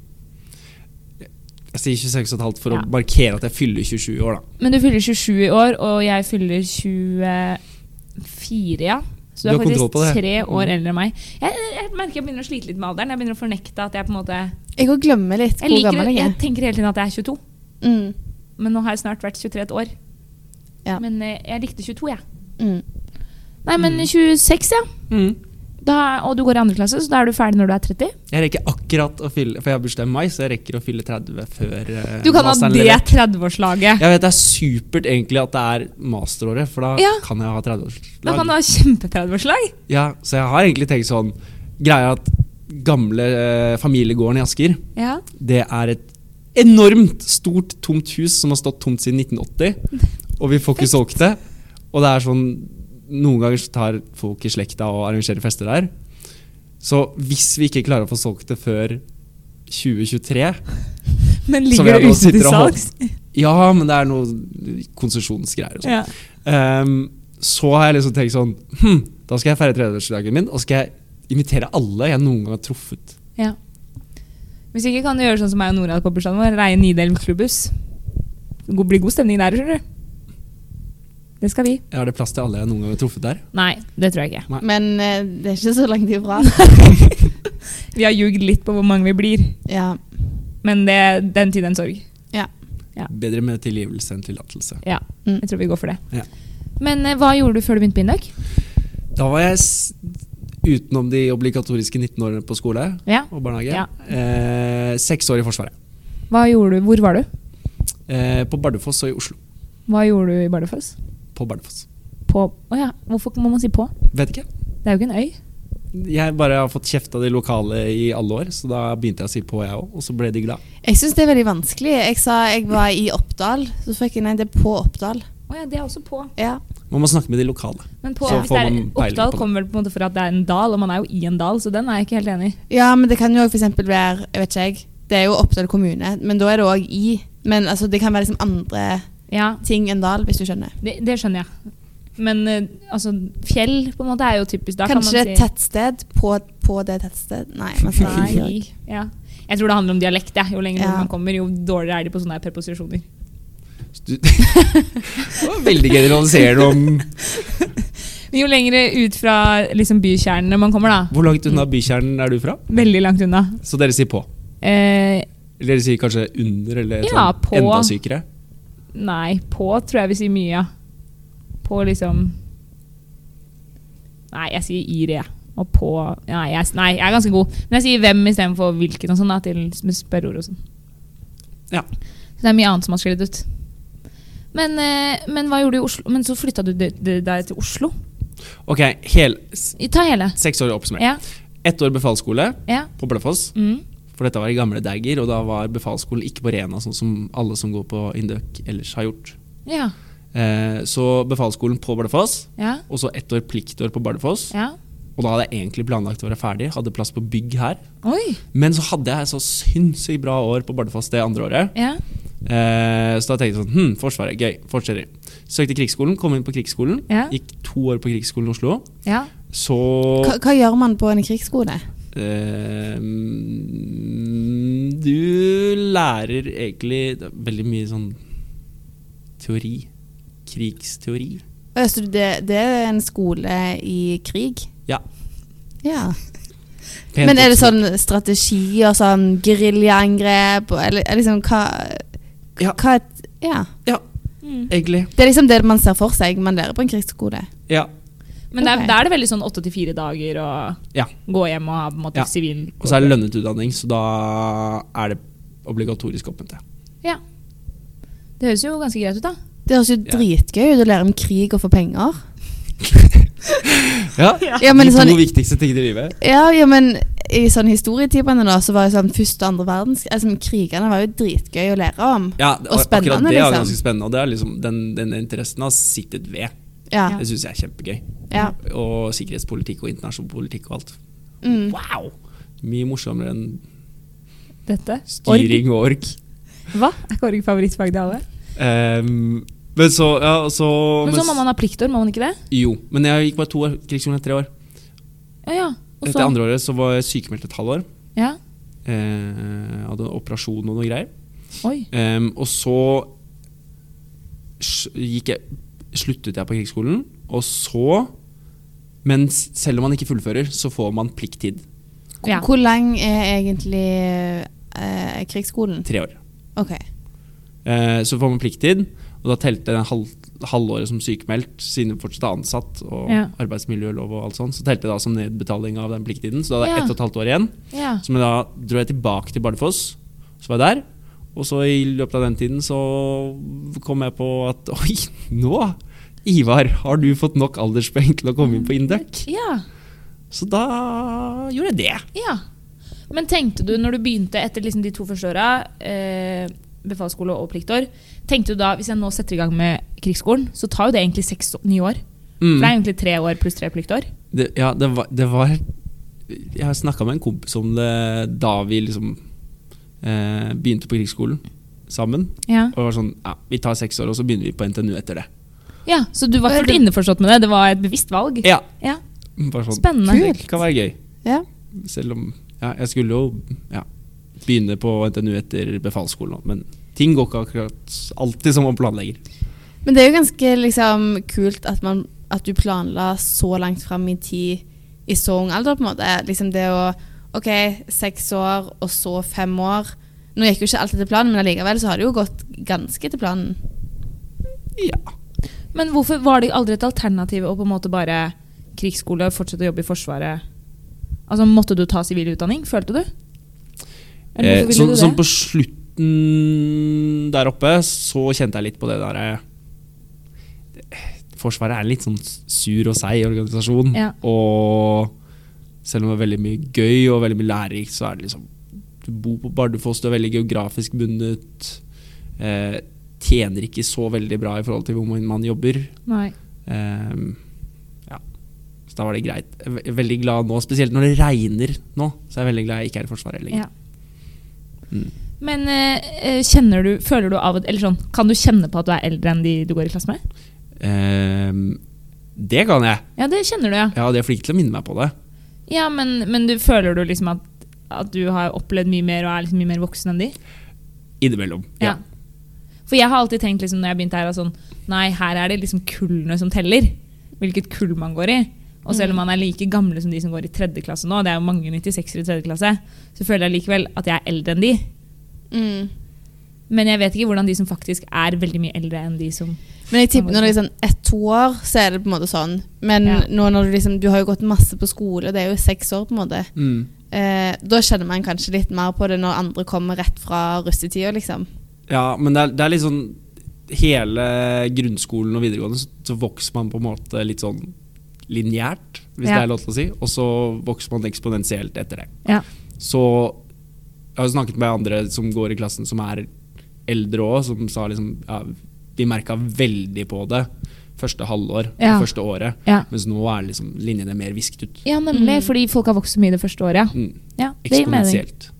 B: Jeg sier 26 og et halvt for
A: Ja.
B: å markere at jeg fyller 27 år, da.
A: Men du fyller 27 i år, og jeg fyller 24, ja. Så du
B: Du
A: er
B: har kontroll på
A: faktisk
B: det.
A: tre år
B: Mm.
A: eldre enn meg. Jeg, jeg merker jeg begynner å slite litt med alderen. Jeg begynner å fornekte at jeg på en måte
C: Jeg òg glemmer litt
A: Jeg,
C: hvor
A: liker,
C: gammel jeg
A: jeg
C: er.
A: tenker hele tiden at jeg er 22,
C: Mm,
A: men nå har jeg snart vært 23 et år.
C: Ja.
A: Men eh, jeg likte 22, jeg.
C: mm.
B: Mm.
A: Nei, men 26, ja. Da, og du går i andre klasse, så da er du ferdig når du er 30.
B: Jeg rekker akkurat å fylle For jeg har bursdag i mai, så jeg rekker å fylle 30 før eh,
A: Du kan ha
B: masteren
A: det
B: leverer.
A: 30-årslaget.
B: Jeg vet det er supert egentlig at det er masteråret, for da
A: Ja.
B: kan jeg ha
A: Da kan
B: 30-årslag.
A: du ha kjempe-30-årslag.
B: Ja, så jeg har egentlig tenkt sånn Greia er at gamle eh, familiegården i Asker,
A: Ja.
B: det er et enormt stort tomt hus som har stått tomt siden 1980, og vi får ikke solgt det. Og det er sånn Noen ganger så tar folk i slekta og arrangerer fester der. Så hvis vi ikke klarer å få solgt det før 2023
A: Men
B: Som
A: ligger
B: jeg
A: det
B: nå
A: ute til
B: sitter og
A: salgs?
B: Ja, men det er noe konsesjonsgreier og sånn.
A: Ja.
B: Ehm, så har jeg liksom tenkt sånn hm, Da skal jeg feire tredjeårsdagen min, og så skal jeg invitere alle jeg noen gang har truffet.
A: ja. Hvis ikke kan du gjøre sånn som meg og Nora hadde på bursdagen vår. Reie Nidelv klubbhus. Det blir god stemning der, skjønner du. Det skal vi.
B: Er det plass til alle jeg noen gang har truffet der?
A: Nei, det tror jeg ikke.
C: Men eh, det er ikke så langt ifra.
A: Vi har ljugd litt på hvor mange vi blir,
C: ja.
A: men det, den tid, den sorg. Ja.
B: Bedre med tilgivelse enn tillatelse.
A: Ja,
C: Mm.
A: jeg tror vi går for det.
B: Ja.
A: Men eh, hva gjorde du før du begynte på Indøk?
B: Da var jeg s utenom de obligatoriske 19 årene på skole
A: Ja.
B: og barnehage.
A: Ja.
B: Eh, seks år i Forsvaret.
A: Hva gjorde du, hvor var du?
B: Eh, på Bardufoss og i Oslo.
A: Hva gjorde du i Bardufoss?
B: På Bardufoss.
A: På Å ja, hvorfor må man si på?
B: Vet ikke.
A: Det er jo ikke en øy.
B: Jeg bare har fått kjeft av de lokale i alle år, så da begynte jeg å si på, jeg òg. Og så ble de glad.
C: Jeg syns det er veldig vanskelig. Jeg sa jeg var i Oppdal, så fikk jeg nei, det er på Oppdal.
A: Å ja, det er også på.
C: Ja.
B: Man må snakke med de lokale.
A: Men på,
B: Så
A: hvis
B: får
A: det er,
B: man peiling på
A: Oppdal
B: det.
A: kommer vel på en måte for at det er en dal, og man er jo i en dal, så den er jeg ikke helt enig i.
C: ja, men det kan jo også for eksempel være Jeg vet ikke, jeg. Det er jo Oppdal kommune, men da er det òg i. Men altså, det kan være liksom andre
A: Ja,
C: ting enn dal, hvis du skjønner.
A: det, det skjønner jeg. Men eh, altså, fjell på en måte er jo typisk. Da
C: Kanskje
A: kan man
C: et
A: si
C: tettsted på, på det tettstedet. Nei, man sier
A: Nei.
C: ikke òg.
A: Ja. Jeg tror det handler om dialekt. Ja. Jo lenger
C: Ja.
A: man kommer, jo dårligere er de på sånne her preposisjoner.
B: Du- Det var veldig generaliserende om
A: Men Jo lenger ut fra liksom, bykjernene man kommer, da.
B: Hvor langt unna bykjernen er du fra?
A: Veldig langt unna.
B: Så dere sier på.
A: Eh,
B: Eller dere sier kanskje under, eller
A: Ja,
B: et eller annet
A: på.
B: enda sykere.
A: nei, på tror jeg vi sier mye. Ja. På liksom Nei, jeg sier ir, jeg. Og på Nei, jeg, nei, jeg er ganske god. Men jeg sier hvem istedenfor hvilken og sånn, da, til med spørreord og sånn.
B: Ja.
A: Så det er mye annet som har sklidd ut. Men, eh, men hva gjorde du i Oslo? Men så flytta du de- de- deg til Oslo?
B: Ok, hel, s-
A: Ta hele.
B: seks år oppsummert.
A: Ja.
B: Ett år befalsskole
A: ja.
B: på Bløfoss.
A: Mm.
B: For dette var i gamle dager, og da var befalsskolen ikke på Rena, sånn som alle som går på Indøk ellers har gjort.
A: Ja.
B: Eh, så befalsskolen på Bardufoss,
A: Ja.
B: og så ett år pliktår på Bardufoss.
A: ja.
B: Og da hadde jeg egentlig planlagt å være ferdig, hadde plass på bygg her.
A: Oi.
B: Men så hadde jeg så sinnssykt bra år på Bardufoss det andre året.
A: Ja.
B: Eh, så da tenkte jeg sånn Hm, Forsvaret, gøy. Fortsetter. Søkte Krigsskolen, kom inn på Krigsskolen.
A: Ja.
B: Gikk to år på Krigsskolen i Oslo.
A: ja.
B: Så
C: Hva, hva gjør man på en krigsskole?
B: eh, mm, Du lærer egentlig det er veldig mye sånn teori. Krigsteori.
C: Å, Så det, det er en skole i krig?
B: Ja.
C: Ja.
B: Pent
C: Men er det
B: oppsummert.
C: sånn strategier, sånn geriljaangrep og- Eller er liksom hva,
B: Ja.
C: hva Ja.
B: Ja,
A: Mm.
B: egentlig.
C: Det er liksom det man ser for seg man lærer på en krigsskole.
B: Ja.
A: Men der,
C: Ok.
A: der er det veldig sånn åtte til fire dager og
B: Ja.
A: gå hjem og ha på en måte
B: Ja.
A: sivil
B: Og så er det lønnet utdanning, så da er det obligatorisk oppmøte.
A: Ja. Det høres jo ganske greit ut, da.
C: Det høres jo
B: Ja.
C: dritgøy ut å lære om krig og få penger.
B: Ja,
C: Ja, men
B: De to
C: sånn,
B: viktigste tingene i livet.
C: ja, ja, men i sånn historietimene da, så var jo sånn første og andre verdenskrig altså, Krigene var jo dritgøy å lære om.
B: Ja, og
C: spennende,
B: akkurat det er
C: liksom.
B: ganske spennende. Og det er liksom, den, den interessen har sittet ved.
C: Ja.
B: Det syns jeg er kjempegøy.
C: ja.
B: Og sikkerhetspolitikk og internasjonal politikk og alt.
C: Mm.
B: Wow! Mye morsommere enn
A: Dette.
B: styring og ork.
A: Org. Hva? Er ikke org favorittfag til alle?
B: Ehm, men så, ja, og så,
A: Men så må man ha pliktår, må man ikke det?
B: Jo, men jeg gikk bare to år. Krigsskolen er tre år.
A: Ja, ja. Og
B: Etter
A: så,
B: andre året så var jeg sykemeldt et halvår.
A: ja.
B: Eh, hadde en operasjon og noe greier.
A: Oi.
B: Ehm, og så s- gikk jeg, sluttet jeg på krigsskolen, og så Men s- selv om man ikke fullfører, så får man plikttid.
C: Hvor,
A: Ja.
C: hvor lang er egentlig eh, krigsskolen?
B: Tre år.
C: Ok.
B: Eh, så får man plikttid, Og da telte det halv, halvåret som sykemeldt, siden hun fortsatt er ansatt, og
A: Ja.
B: arbeidsmiljølov og alt sånt, så telte det da som nedbetaling av den plikttiden. Så da hadde jeg
A: Ja.
B: ett og et halvt år igjen.
A: Ja.
B: Så men da dro jeg tilbake til Bardufoss, så var jeg der. Og så i løpet av den tiden så kom jeg på at oi, nå, Ivar, har du fått nok alderspoeng til å komme inn på Induc?
A: ja. Mm.
B: Så da gjorde jeg det.
A: Ja. Men tenkte du, når du begynte etter liksom de to første åra, eh, befalsskole og pliktår, tenkte du da hvis jeg nå setter i gang med krigsskolen, så tar jo det egentlig seks-ni år?
B: Mm.
A: For det er egentlig tre år pluss tre pliktår.
B: Det, ja, det var, det var Jeg har snakka med en kompis om det da vi liksom eh, begynte på krigsskolen sammen.
A: Ja.
B: Og det var sånn ja, Vi tar seks år, og så begynner vi på NTNU etter det.
A: ja Så du var fullt innforstått med det? Det var et bevisst valg?
B: Ja,
A: Ja.
B: bare sånn,
A: Spennende.
B: Det kan være gøy.
C: Ja.
B: Selv om ja, jeg skulle jo ja, begynne på NTNU etter befalsskolen, også, men ting går ikke akkurat alltid som man planlegger.
C: Men det er jo ganske liksom, kult at, man, at du planla så langt fram i tid i så ung alder, på en måte. Liksom det å OK, seks år, og så fem år. Nå gikk jo ikke alt etter planen, men allikevel så har det jo gått ganske etter planen.
B: Ja.
A: Men hvorfor var det aldri et alternativ å på en måte bare krigsskole, fortsette å jobbe i Forsvaret? Altså Måtte du ta sivil utdanning, følte du? Eller
B: Eh,
A: hvorfor ville du
B: sånn,
A: det?
B: sånn på slutten der oppe, så kjente jeg litt på det der eh, Forsvaret er en litt sånn sur og seig organisasjon.
A: Ja.
B: Og selv om det er veldig mye gøy og veldig mye lærerikt, så er det liksom Du bor på Bardufoss, du er veldig geografisk bundet. Eh, tjener ikke så veldig bra i forhold til hvor man jobber.
A: Nei.
B: Ehm, ja. Så da var det greit. Jeg er ve- veldig glad nå, spesielt når det regner nå, så er jeg veldig glad jeg ikke er i Forsvaret lenger.
A: Ja.
B: Mm.
A: Men eh, kjenner du, føler du av og Eller sånn, kan du kjenne på at du er eldre enn de du går i klasse med?
B: Ehm, det kan jeg.
A: Ja, det kjenner du, ja.
B: Ja, de er flinke til å minne meg på det.
A: Ja, Men, men du, føler du liksom at, at du har opplevd mye mer og er liksom mye mer voksen enn de?
B: Innimellom. Ja.
A: For jeg har alltid tenkt liksom, når jeg begynte her, at sånn, nei, her er det liksom kullene som teller. Hvilket kull man går i. Og selv om man er like gamle som de som går i tredje klasse nå, det er jo mange 96-er i tredje klasse, så føler jeg likevel at jeg er eldre enn de. Men jeg vet ikke hvordan de som faktisk er veldig mye eldre enn de som
C: Men jeg tipper når det er sånn ett-to år, så er det på en måte sånn. Men
A: Ja.
C: nå når du liksom Du har jo gått masse på skole, det er jo seks år, på en måte.
B: Mm.
C: Eh, da kjenner man kanskje litt mer på det når andre kommer rett fra russetida, liksom.
B: ja men det er, det er litt sånn Hele grunnskolen og videregående så, så vokser man på en måte litt sånn lineært, hvis
A: Ja.
B: det er lov til å si. Og så vokser man eksponentielt etter det.
A: Ja.
B: Så jeg har jo snakket med andre som går i klassen som er eldre òg, som sa liksom ja, De merka veldig på det første halvår,
A: Ja.
B: første året.
A: Ja.
B: Mens nå er liksom linjene mer visket ut.
A: nemlig. Fordi folk har vokst så mye det første året.
B: Mm.
A: Mm. Ja, det gir mening.
B: Eksponentielt.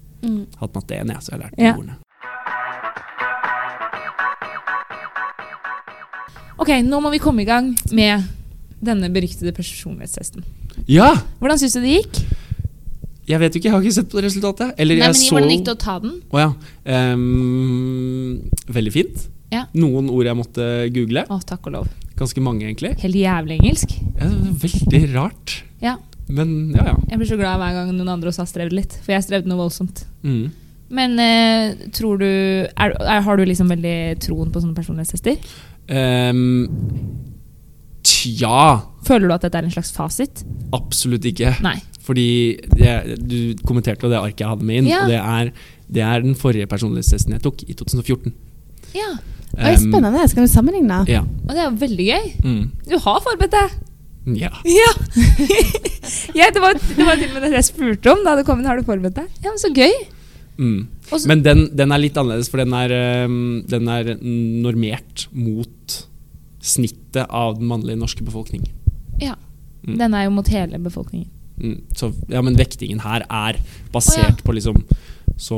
B: Hatt matte 1, jeg, så jeg har lært
A: Ja.
B: de ordene.
A: Ok, nå må vi komme i gang med denne beryktede personlighetstesten.
B: Ja!
A: Hvordan syns du det gikk?
B: Jeg vet jo ikke, jeg har ikke sett på resultatet. Eller
A: Nei,
B: jeg
A: men
B: så
A: Hvordan gikk det å ta den?
B: Å ja. Ehm, veldig fint.
A: Ja.
B: Noen ord jeg måtte google.
A: Å, takk og lov.
B: Ganske mange, egentlig.
A: Helt jævlig engelsk.
B: Ja, veldig rart.
A: Ja.
B: Men ja, ja.
A: Jeg blir så glad hver gang noen andre også har strevd litt, for jeg strevde noe voldsomt.
B: Mm.
A: Men eh, tror du er, er, Har du liksom veldig troen på sånne personlighetstester?
B: Ehm, tja,
A: Føler du at dette er en slags fasit?
B: absolutt ikke.
A: Nei.
B: Fordi det, du kommenterte jo det arket jeg hadde med inn,
A: Ja.
B: og det er, det er den forrige personlighetstesten jeg tok, i 2014.
A: Ja.
C: Oi,
B: Ehm,
C: spennende. Skal vi sammenligne?
B: Ja.
A: Og det er jo veldig gøy.
B: Mm,
A: Du har forberedt deg!
B: ja.
A: Ja! det, var, det var til og med det jeg spurte om da du kom inn. Har du forberedt deg? Ja, men så gøy.
B: Mm.
A: Og så-
B: Men den, den er litt annerledes, for den er, ehm, den er normert mot snittet av den mannlige norske befolkning.
A: Ja.
B: Mm.
A: Den er jo mot hele befolkningen.
B: Mm. Så, ja, men vektingen her er basert
A: Å, ja.
B: på liksom så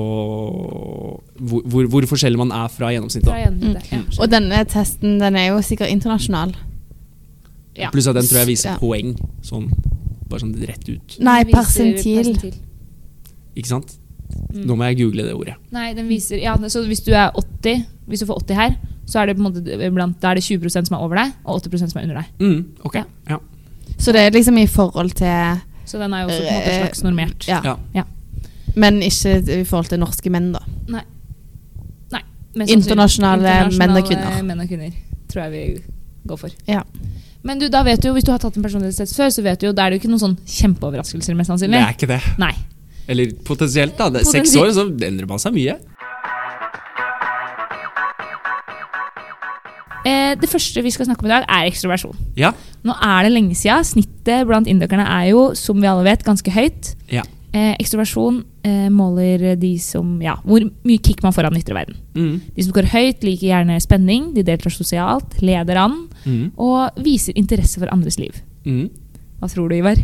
B: hvor, hvor, hvor forskjellig man er fra gjennomsnittet.
A: Fra
B: da. Mm.
A: gjennomsnittet, ja.
C: Og denne testen den er jo sikkert internasjonal.
A: Ja.
B: Pluss at den tror jeg viser
C: Ja.
B: poeng, sånn, bare sånn rett ut.
C: Nei,
A: Den viser
C: persentil.
B: Ikke sant?
A: Mm.
B: Nå må jeg google det ordet.
A: Nei, den viser ja, Så hvis du er 80 Hvis du får 80 her Så er det, på en måte blant, da er det 20 som er over deg Og 80 som er under deg
B: Mm, ok.
A: Ja.
B: Ja.
C: Så det er liksom i forhold til
A: Så den er jo også på en måte slags normert
C: Eh, Ja.
B: Ja.
A: Ja.
C: Men ikke i forhold til norske menn, da.
A: Nei Nei Mest sannsynlig.
C: Internasjonale menn og kvinner.
A: Internasjonale eh, menn og kvinner tror jeg vi går for.
C: Ja.
A: Men du, da vet du jo, hvis du har tatt en personlighetstest før, så vet du jo, da er det jo ikke noen sånn kjempeoverraskelser, mest
B: Det
A: sannsynlig.
B: er ikke det.
A: Nei.
B: Eller potensielt, da. Det er Seks år,
A: Potensielt.
B: så endrer man seg mye.
A: Eh, det første vi skal snakke om i dag, er ekstroversjon.
B: Ja.
A: Nå er det lenge siden. Snittet blant indokerne er jo, som vi alle vet, ganske høyt.
B: Ja.
A: Eh, ekstroversjon eh, måler de som Ja, hvor mye kick man får av den ytre verden.
B: Mm.
A: De som går høyt, liker gjerne spenning, de deltar sosialt, leder an
B: Mm.
A: og viser interesse for andres liv.
B: Mm.
A: Hva tror du, Ivar?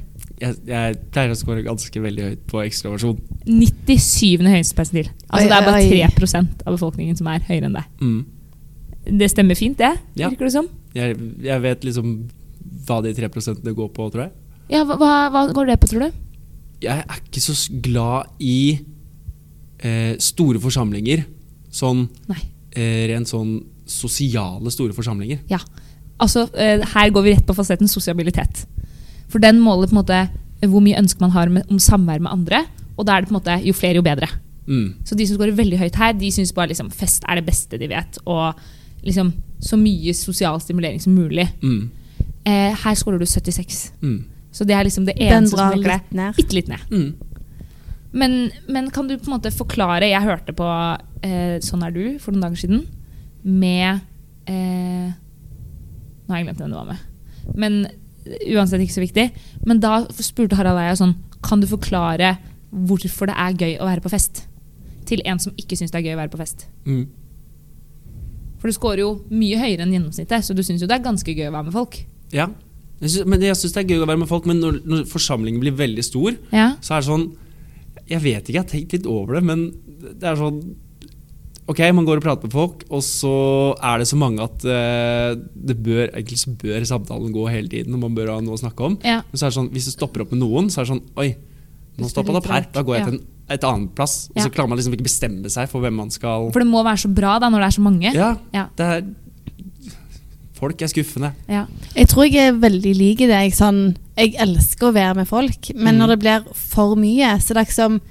B: Jeg, jeg pleier å score ganske veldig høyt på ekstroversjon.
A: 97. høyeste persentil. Altså
C: Oi,
A: det er
C: oi, oi.
A: bare 3 av befolkningen som er høyere enn deg.
B: Mm.
A: Det stemmer fint, det,
B: Ja.
A: virker det som.
B: Jeg, jeg vet liksom hva de tre prosentene går på, tror jeg.
A: Ja, hva, hva, hva går det på, tror du?
B: Jeg er ikke så s- glad i eh, store forsamlinger. Sånn
A: Nei.
B: eh, rent sånn sosiale store forsamlinger.
A: Ja. Altså, eh, her går vi rett på fasetten sosialitet. For den måler på en måte eh, hvor mye ønske man har med, om samvær med andre. Og da er det på en måte jo flere, jo bedre.
B: Mm.
A: Så de som scorer veldig høyt her, de syns bare liksom, fest er det beste de vet. Og liksom så mye sosial stimulering som mulig.
B: Mm.
A: Eh, her scorer du 76.
B: Mm.
A: Så det er liksom det
C: Den
A: eneste som
C: drar
A: trekker
C: litt
A: deg
C: ned.
A: bitte litt ned.
B: Mm.
A: Men, men kan du på en måte forklare Jeg hørte på eh, Sånn er du for noen dager siden med eh, Nå har jeg glemt hvem det var med. Men uansett ikke så viktig. Men da spurte Harald Eia sånn Kan du forklare hvorfor det er gøy å være på fest? Til en som ikke syns det er gøy å være på fest.
B: Mm.
A: For du scorer jo mye høyere enn gjennomsnittet, så du syns jo det er ganske gøy å være med folk.
B: Ja. Jeg synes, men jeg syns det er gøy å være med folk, men når, når forsamlingen blir veldig stor,
A: Ja.
B: så er det sånn Jeg vet ikke, jeg har tenkt litt over det, men det er sånn Ok, man går og prater med folk, og så er det så mange at eh, det bør, egentlig så bør samtalen gå hele tiden, og man bør ha noe å snakke om.
A: Ja.
B: Men så er det sånn, hvis det stopper opp med noen, så er det sånn Oi,
A: Det
B: nå
A: står
B: stoppa det
A: litt
B: opp her.
A: langt.
B: Da går jeg
A: Ja.
B: til en, et annet plass. Og
A: Ja.
B: så klarer man liksom ikke bestemme seg for hvem man skal
A: For det må være så bra da når det er så mange.
B: Ja,
A: Ja.
B: det er Folk er skuffende.
A: Ja.
C: Jeg tror jeg er veldig lik i det. Jeg, sånn, jeg elsker å være med folk, men når det blir for mye, så det er liksom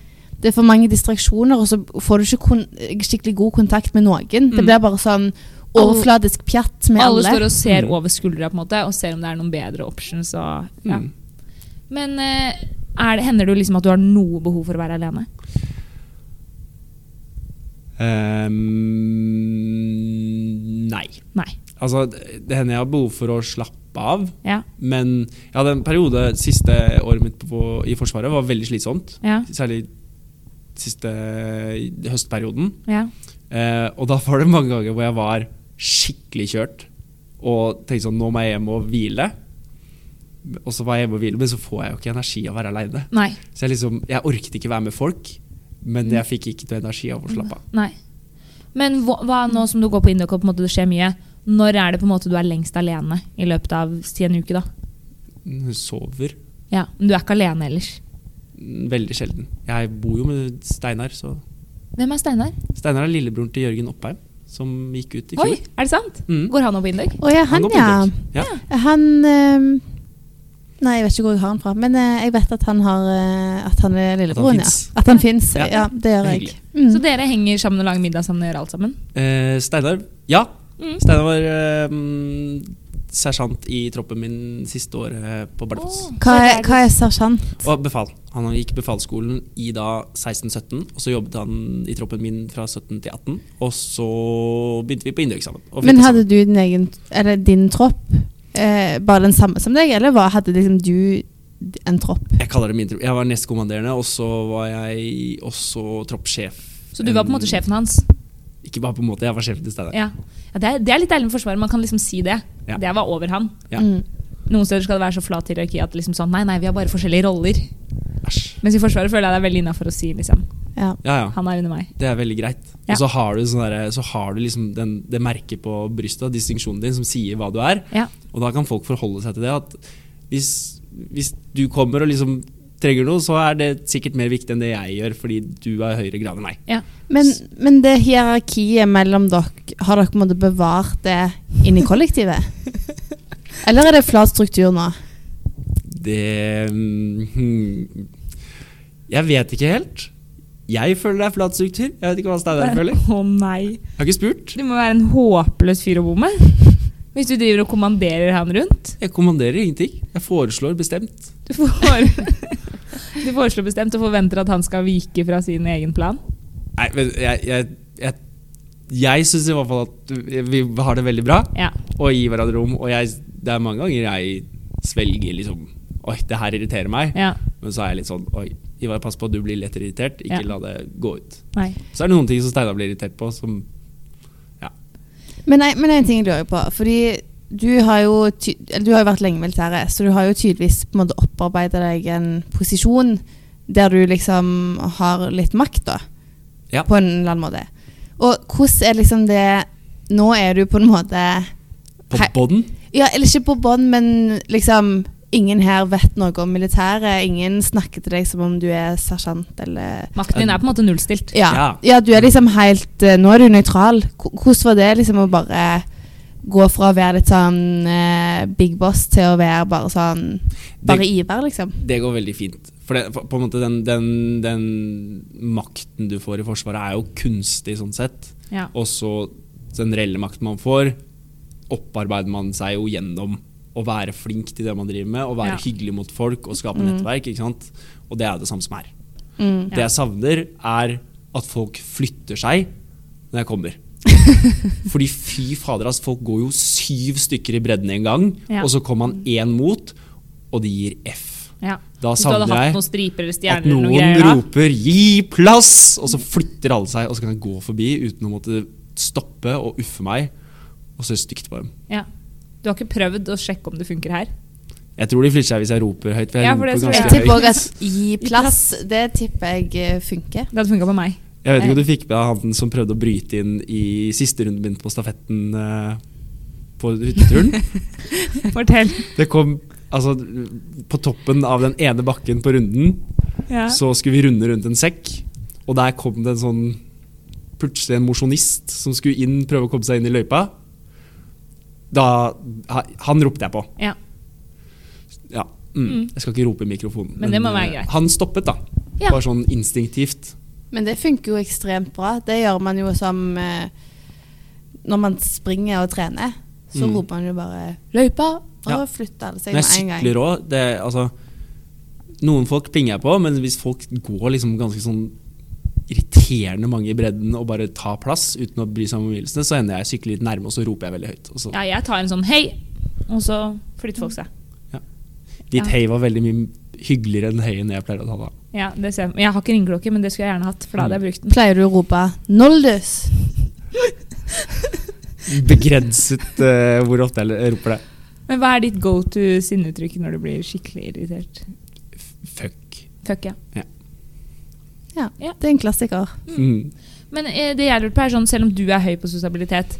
C: det er for mange distraksjoner, og så får du ikke kon skikkelig god kontakt med noen. Det blir bare sånn overfladisk pjatt med
A: alle
C: alle.
A: står og ser
B: Mm.
A: over skuldra på en måte, og ser om det er noen bedre options. Og, ja.
B: Mm.
A: Men eh, er det, hender det jo liksom at du har noe behov for å være alene?
B: Ehm, nei.
A: Nei.
B: Altså, det hender jeg har behov for å slappe av.
A: Ja.
B: Men jeg hadde en periode siste året mitt på, i Forsvaret var veldig slitsomt.
A: Ja.
B: Særlig siste høstperioden.
A: Ja.
B: Eh, og da var det mange ganger hvor jeg var skikkelig kjørt og tenkte sånn Nå må jeg hjem og hvile. Og så var jeg hjemme og hvile, men så får jeg jo ikke energi av å være aleine.
A: Nei.
B: Så jeg liksom, jeg orket ikke være med folk, men jeg fikk ikke noe energi av å slappe av.
A: Nei. Men hva, hva nå som du går på Indoc og på en måte det skjer mye, når er det på en måte du er lengst alene i løpet av si en uke, da? Mm.
B: Hun sover
A: Ja, Men du er ikke alene ellers.
B: veldig sjelden. Jeg bor jo med Steinar, så
A: Hvem er Steinar?
B: Steinar er lillebroren til Jørgen Oppheim, som gikk ut i
A: Oi,
B: fjor.
A: er det sant?
B: Mm.
A: Går han opp på Indoc?
C: Å ja, han,
B: går på
C: ja.
B: Induk. ja.
C: Han ehm, Nei, jeg vet ikke hvor jeg har han fra, men eh, jeg vet at han, har, eh, at han er lillebroren. Ja.
B: finnes.
C: At han fins.
B: Ja.
C: Ja. det gjør jeg.
B: Hyggelig.
A: Så
C: Mm.
A: dere henger sammen og lager middag sammen og gjør alt sammen?
B: Eh, Steinar Ja,
A: Mm.
B: Steinar var eh, mm, sersjant i troppen min siste år eh, på Bardufoss.
A: Åh,
C: Hva
A: så
C: er,
A: dere-
C: hva er sersjant?
B: Og befal. Han gikk befalsskolen i da 16-17, og så jobbet han i troppen min fra 17 til 18. Og så begynte vi på Indøk sammen. og
C: Men
B: flyttet
C: hadde du din egen Eller din tropp eh, bare den samme som deg, eller hva, hadde liksom du en tropp?
B: Jeg kaller det min tropp. Jeg var nestkommanderende, og så var jeg også troppssjef.
A: Så du var på en måte sjefen hans?
B: Ikke bare på en måte, jeg var sjefen til stedet.
A: Ja, ja det, er, det er litt deilig med Forsvaret. Man kan liksom si det.
B: Ja.
A: Det var over han.
B: Ja.
C: Mm.
A: Noen steder skal det være så flat hierarki at liksom sånn, nei, nei, vi har bare forskjellige roller.
B: Æsj.
A: Mens i Forsvaret føler jeg det er veldig innafor å si liksom,
C: Ja.
B: Ja, ja.
A: han er under meg.
B: Det er veldig greit.
A: Ja.
B: Og så har du, sånn derre- så har du liksom den, det merket på brystet, distinksjonen din, som sier hva du er.
A: Ja.
B: Og da kan folk forholde seg til det. At hvis, hvis du kommer og liksom trenger noe, så er det sikkert mer viktig enn det jeg gjør, fordi du er i høyere grad enn meg.
A: Ja.
C: Men, men det hierarkiet mellom dere, har dere på en måte bevart det inni kollektivet? Eller er det flat struktur nå?
B: Det mm, hmm. Jeg vet ikke helt. Jeg føler det er flatstruktur. Jeg vet ikke hva Steinar føler.
A: Å nei.
B: Jeg har ikke spurt.
A: Du må være en håpløs fyr å bo med. Hvis du driver og kommanderer han rundt.
B: Jeg kommanderer ingenting. Jeg foreslår bestemt.
A: Du, får, du foreslår bestemt og forventer at han skal vike fra sin egen plan.
B: Nei, men jeg Jeg, jeg, jeg syns i hvert fall at vi har det veldig bra
A: Ja.
B: og gir hverandre rom. Og jeg, det er mange ganger jeg svelger liksom Oi, det her irriterer meg.
A: ja.
B: Men så er jeg litt sånn Oi, Ivar, pass på at du blir lett irritert. Ikke
A: Ja.
B: la det gå ut.
A: Nei.
B: Så er det noen ting som Steinar blir irritert på, som
C: Men, nei, men en ting jeg lurer på. Fordi du har jo, ty eller du har jo vært lenge i militæret, så du har jo tydeligvis på en måte opparbeida deg en posisjon der du liksom har litt makt, da.
B: Ja.
C: På en eller annen måte. Og hvordan er liksom det Nå er du på en måte
B: på
C: Hei.
B: bånn.
C: Ja, eller ikke på bånd, men liksom Ingen her vet noe om militæret. Ingen snakker til deg som om du er sersjant eller
A: Makten din er på en måte nullstilt.
B: Ja.
C: ja. ja, du er liksom helt eh, Nå er du nøytral. Ko- Hvordan var det liksom å bare gå fra å være litt sånn eh, big boss til å være bare sånn Bare Ivar, liksom?
B: Det går veldig fint. For det, på på en måte den, den, den makten du får i Forsvaret, er jo kunstig sånn sett.
A: Ja.
B: Og så den reelle makten man får, opparbeider man seg jo gjennom å være flink til det man driver med, og være
A: Ja. Mm.
B: hyggelig mot folk og skape nettverk. ikke sant? Og det er jo det samme som her.
C: Mm.
A: Ja.
B: Det jeg savner, er at folk flytter seg når jeg kommer. Fordi fy fader, ass, folk går jo syv stykker i bredden en gang,
A: Ja.
B: og så kommer man én mot, og de gir F.
A: Ja.
B: Da
A: Hvis du hadde
B: savner
A: hatt
B: jeg
A: noen striper eller
B: at
A: stjerner eller noe
B: noen
A: greier da.
B: roper 'gi plass', og så flytter alle seg. Og så kan jeg gå forbi uten å måtte stoppe og uffe meg. Og så er det stygt på dem.
A: Ja. Du har ikke prøvd å sjekke om det funker her?
B: Jeg tror de flytter seg hvis jeg roper høyt. For jeg,
A: Ja, for
B: roper
A: det tror
B: ganske
A: jeg.
B: høyt.
C: Jeg tipper òg at gi plass, det tipper jeg eh, funker.
A: Det hadde funka på meg.
B: jeg vet ikke om du fikk med deg han som prøvde å bryte inn i siste runden min på stafetten eh, på hytteturen.
A: Fortell.
B: Det kom altså På toppen av den ene bakken på runden
A: Ja.
B: så skulle vi runde rundt en sekk, og der kom det en sånn plutselig en mosjonist som skulle inn, prøve å komme seg inn i løypa. Da, ha- han ropte jeg på.
A: Ja.
B: Ja, mm.
A: Mm.
B: Jeg skal ikke rope i mikrofonen.
A: Men det må være
B: eh,
A: greit.
B: Han stoppet, da.
A: Ja.
B: Bare sånn instinktivt.
C: Men det funker jo ekstremt bra. Det gjør man jo som eh, Når man springer og trener, så
B: Mm.
C: roper man jo bare 'løypa', og
B: Ja.
C: flytter alle seg
B: Men jeg
C: med en gang.
B: sykler òg. Altså, noen folk plinger jeg på, men hvis folk går liksom ganske sånn irriterende mange i bredden og bare tar plass uten å bry seg om omgivelsene, så ender jeg å sykle litt nærme, og så roper jeg veldig høyt. Og så
A: ja, jeg tar en sånn hei, og så flytter folk seg.
B: Ditt
A: Ja.
B: hei var veldig mye hyggeligere enn heien jeg pleier å ta da.
A: Ja, det ser jeg. jeg har ikke ringeklokke, men det skulle jeg gjerne hatt, for da hadde jeg brukt den.
C: Pleier du å rope 'Noldus'?
B: Begrenset eh, hvor ofte jeg roper det.
A: Men hva er ditt go to sinneuttrykk når du blir skikkelig irritert?
B: Fuck.
A: Fuck ja.
C: Ja,
A: Ja.
C: det er en klassiker.
B: Mm.
A: Men eh, det jeg lurer på er sånn, selv om du er høy på sosialitet,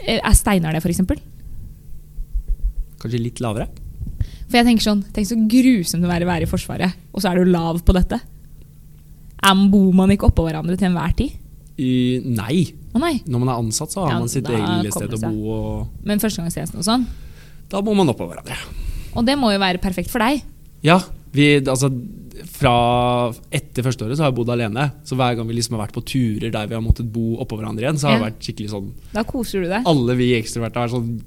A: eh, er Steinar det, for eksempel?
B: Kanskje litt lavere?
A: For jeg tenker sånn, tenk så grusomt det må være å være i Forsvaret, og så er du lav på dette. Am bor man ikke oppå hverandre til enhver tid?
B: I- nei.
A: Å nei.
B: Når man er ansatt, så har
A: Ja,
B: man sitt
A: da
B: eget
A: kommer
B: sted
A: det
B: å
A: seg.
B: bo, og
A: Men førstegangstjenesten og sånn.
B: da må man oppå hverandre.
A: Og det må jo være perfekt for deg.
B: Ja, vi, altså fra etter første året så har jeg bodd alene. Så hver gang vi liksom har vært på turer der vi har måttet bo oppå hverandre igjen, så har det
A: Ja.
B: vært skikkelig sånn
A: Da koser du deg.
B: Alle vi ekstroverte har vært sånn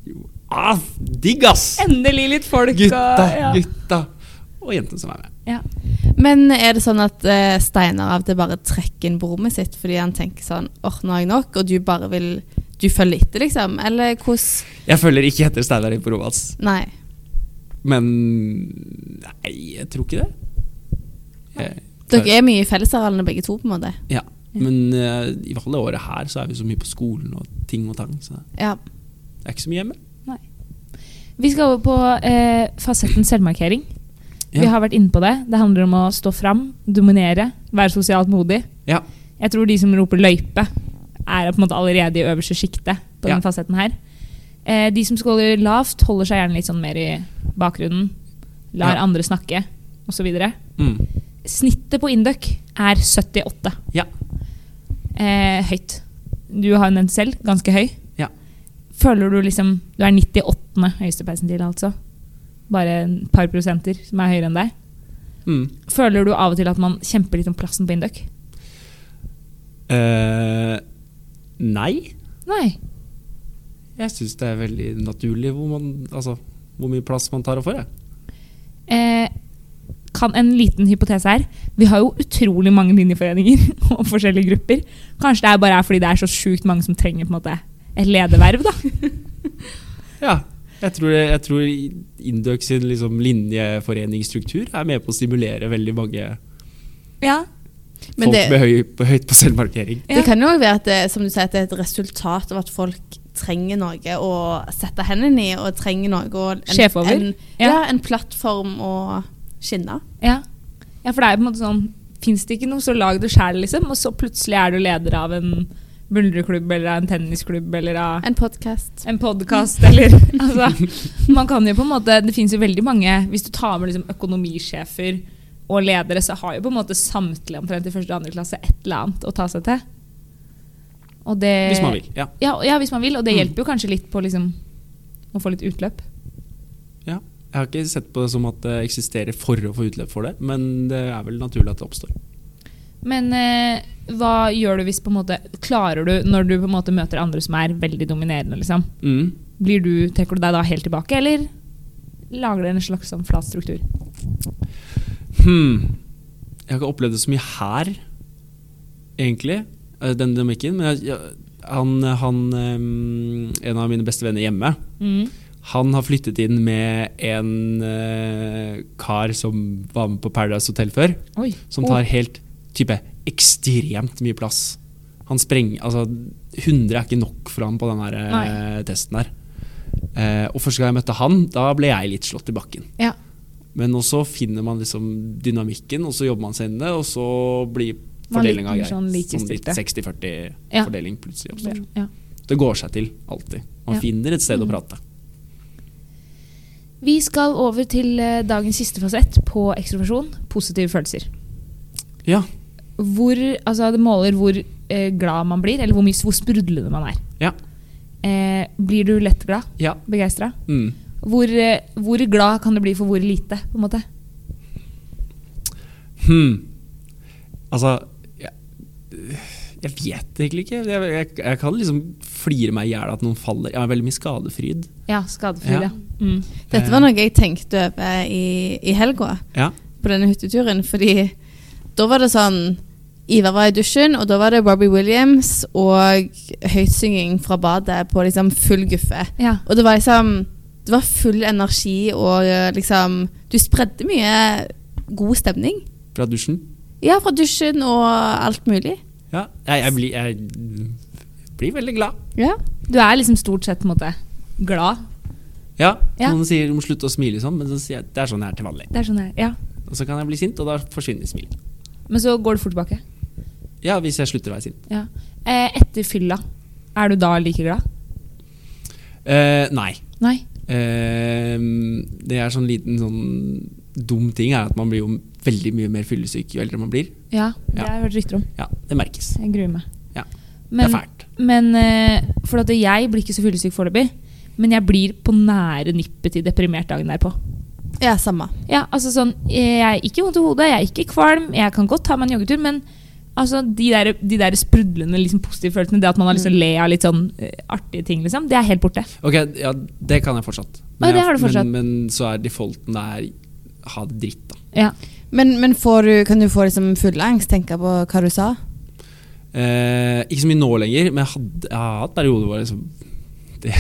B: ah, Digg, ass!
A: Endelig litt folk.
B: Gutta,
A: og, ja.
B: gutta. Og jentene som er med.
A: Ja.
C: Men er det sånn at eh, Steinar av og til bare trekker inn på rommet sitt fordi han tenker sånn åh, nå har jeg nok, og du bare vil Du følger etter, liksom? Eller hvordan
B: Jeg følger ikke etter Steinar inn på rommet hans.
C: Nei.
B: Men Nei, jeg tror ikke det. Eh, Jeg,
C: Dere er mye i fellesarealene begge to, på en måte.
B: Ja. Men eh, i hvert fall det året her så er vi så mye på skolen og ting og tang, så
C: Ja.
B: det er ikke så mye hjemme.
A: Vi skal over på eh, fasetten selvmarkering.
B: Ja.
A: Vi har vært inne på det. Det handler om å stå fram, dominere, være sosialt modig.
B: Ja.
A: Jeg tror de som roper løype, er på en måte allerede i øverste sjiktet på
B: Ja.
A: denne fasetten her. Eh, de som skåler lavt, holder seg gjerne litt sånn mer i bakgrunnen. Lar
B: Ja.
A: andre snakke, osv.
B: Mm.
A: Snittet på Induc er 78.
B: Ja.
A: Eh, høyt. Du har nevnt selv, ganske høy.
B: Ja.
A: Føler du liksom Du er 98. høyeste persentil, altså. Bare et par prosenter som er høyere enn deg.
B: Mm.
A: Føler du av og til at man kjemper litt om plassen på Induc?
B: Eh, nei.
A: Nei.
B: Jeg syns det er veldig naturlig hvor, man, altså, hvor mye plass man tar og får. Jeg.
A: Eh, kan en liten hypotese her. Vi har jo utrolig mange linjeforeninger og forskjellige grupper. Kanskje det er bare er fordi det er så sjukt mange som trenger på en måte, et lederverv, da.
B: Ja, jeg tror, det, jeg tror Indøk sin liksom, linjeforeningsstruktur er med på å stimulere veldig mange
A: Ja.
C: Men
B: folk
C: det-
B: med høy, på, høyt på selvmarkering.
A: Ja.
C: Det kan jo også være at det, som du sier, at det er et resultat av at folk trenger noe å sette hendene i, og trenger noe å en,
A: Sjef over.
C: En,
A: Ja.
C: ja. en plattform å skinne.
A: Ja. ja, for det er jo på en måte sånn Fins det ikke noe, så lag det sjæl, liksom. Og så plutselig er du leder av en buldreklubb eller av en tennisklubb eller av
C: En podkast.
A: en podkast eller altså, Man kan jo på en måte Det fins jo veldig mange Hvis du tar med liksom økonomisjefer og ledere, så har jo på en måte samtlige omtrent i første og andre klasse et eller annet å ta seg til. Og det,
B: Hvis man vil. Ja.
A: Ja, og- ja, hvis man vil. Og det
B: Mm.
A: hjelper jo kanskje litt på liksom, å få litt utløp.
B: ja. Jeg har ikke sett på det som at det eksisterer for å få utløp for det, men det er vel naturlig at det oppstår.
A: Men eh, hva gjør du hvis på en måte Klarer du når du på en måte møter andre som er veldig dominerende, liksom?
B: Mm.
A: Blir du, trekker du deg da helt tilbake, eller lager du en slags sånn flat struktur?
B: Hmm. Jeg har ikke opplevd det så mye her, egentlig, eh, den dynamikken. Men jeg, jeg, han, han ehm, En av mine beste venner hjemme,
A: Mm.
B: han har flyttet inn med en eh, kar som var med på Paradise Hotel før.
A: Oi.
B: Som tar helt type ekstremt mye plass. Han sprenger Altså, 100 er ikke nok for ham på den her, eh,
A: Nei.
B: testen her. Eh, og første gang jeg møtte han, da ble jeg litt slått i bakken.
A: Ja.
B: Men også finner man liksom dynamikken, og så jobber man seg inn i det, og så blir
A: Man
B: fordelinga
A: liker
B: grei.
A: sånn likestilte.
B: litt 60-40
A: Ja.
B: fordeling plutselig
A: Ja.
B: oppstår.
A: Ja.
B: Det går seg til, alltid. Man
A: Ja.
B: finner et sted å
A: Mm.
B: prate.
A: Vi skal over til eh, dagens siste fasett på ekstroversjon, positive følelser.
B: Ja.
A: Hvor, altså Det måler hvor eh, glad man blir, eller hvor, mye, hvor sprudlende man er.
B: Ja.
A: Eh, blir du lett glad?
B: Ja.
A: Begeistra?
B: Mm.
A: Hvor, eh, hvor glad kan du bli for hvor lite? på en måte?
B: Hmm. Altså jeg, jeg vet egentlig ikke. Jeg, jeg, jeg kan liksom flire meg i hjel at noen faller. Jeg har veldig mye skadefryd.
A: Ja, skadefri, ja.
B: Ja.
A: Mm.
C: Dette var noe jeg tenkte over i, i helga,
B: Ja.
C: på denne hytteturen. Fordi da var det sånn Ivar var i dusjen, og da var det Robbie Williams og høytsynging fra badet på liksom full guffe.
A: Ja.
C: Og det var liksom Det var full energi og eh, liksom Du spredde mye god stemning.
B: Fra dusjen.
C: Ja, fra dusjen og alt mulig.
B: Ja. Jeg, jeg, blir, jeg blir veldig glad.
C: Ja.
A: Du er liksom stort sett på en måte glad.
B: Ja.
A: Ja.
B: Noen sier du må slutte å smile sånn, men så sier jeg det er sånn jeg er til vanlig.
A: Det er sånn her, ja.
B: Og så kan jeg bli sint, og da forsvinner smilet.
A: Men så går du fort tilbake.
B: Ja, hvis jeg slutter å være sint.
A: Ja. Eh, etter fylla, er du da like glad?
B: Eh, nei.
A: Nei.
B: Eh, det er sånn liten sånn dum ting er at man blir jo veldig mye mer fyllesyk jo eldre man blir.
A: Ja, det
B: Ja.
A: har jeg hørt rykter om.
B: Ja, det merkes.
A: Jeg gruer meg.
B: Ja. det
A: Men,
B: er fælt.
A: men eh, for at jeg blir ikke så fyllesyk foreløpig, men jeg blir på nære nippet til deprimert dagen derpå.
C: ja, samme.
A: Ja, altså sånn, Jeg er ikke vondt i hodet, jeg er ikke kvalm, jeg kan godt ta meg en joggetur, men altså, de der, de der sprudlende liksom, positive følelsene, det at man har lyst til å le av litt sånn eh, artige ting, liksom, det er helt borte.
B: Ok, ja, det kan jeg fortsatt.
A: Å, det
B: jeg-
A: har du fortsatt.
B: Men, men så er defaulten det er ha det dritt, da.
A: Ja.
C: Men, men får du, kan du få liksom fullangst, tenke på hva du sa?
B: Eh, ikke så mye nå lenger, men jeg, hadde, jeg har hatt perioder hvor jeg liksom det,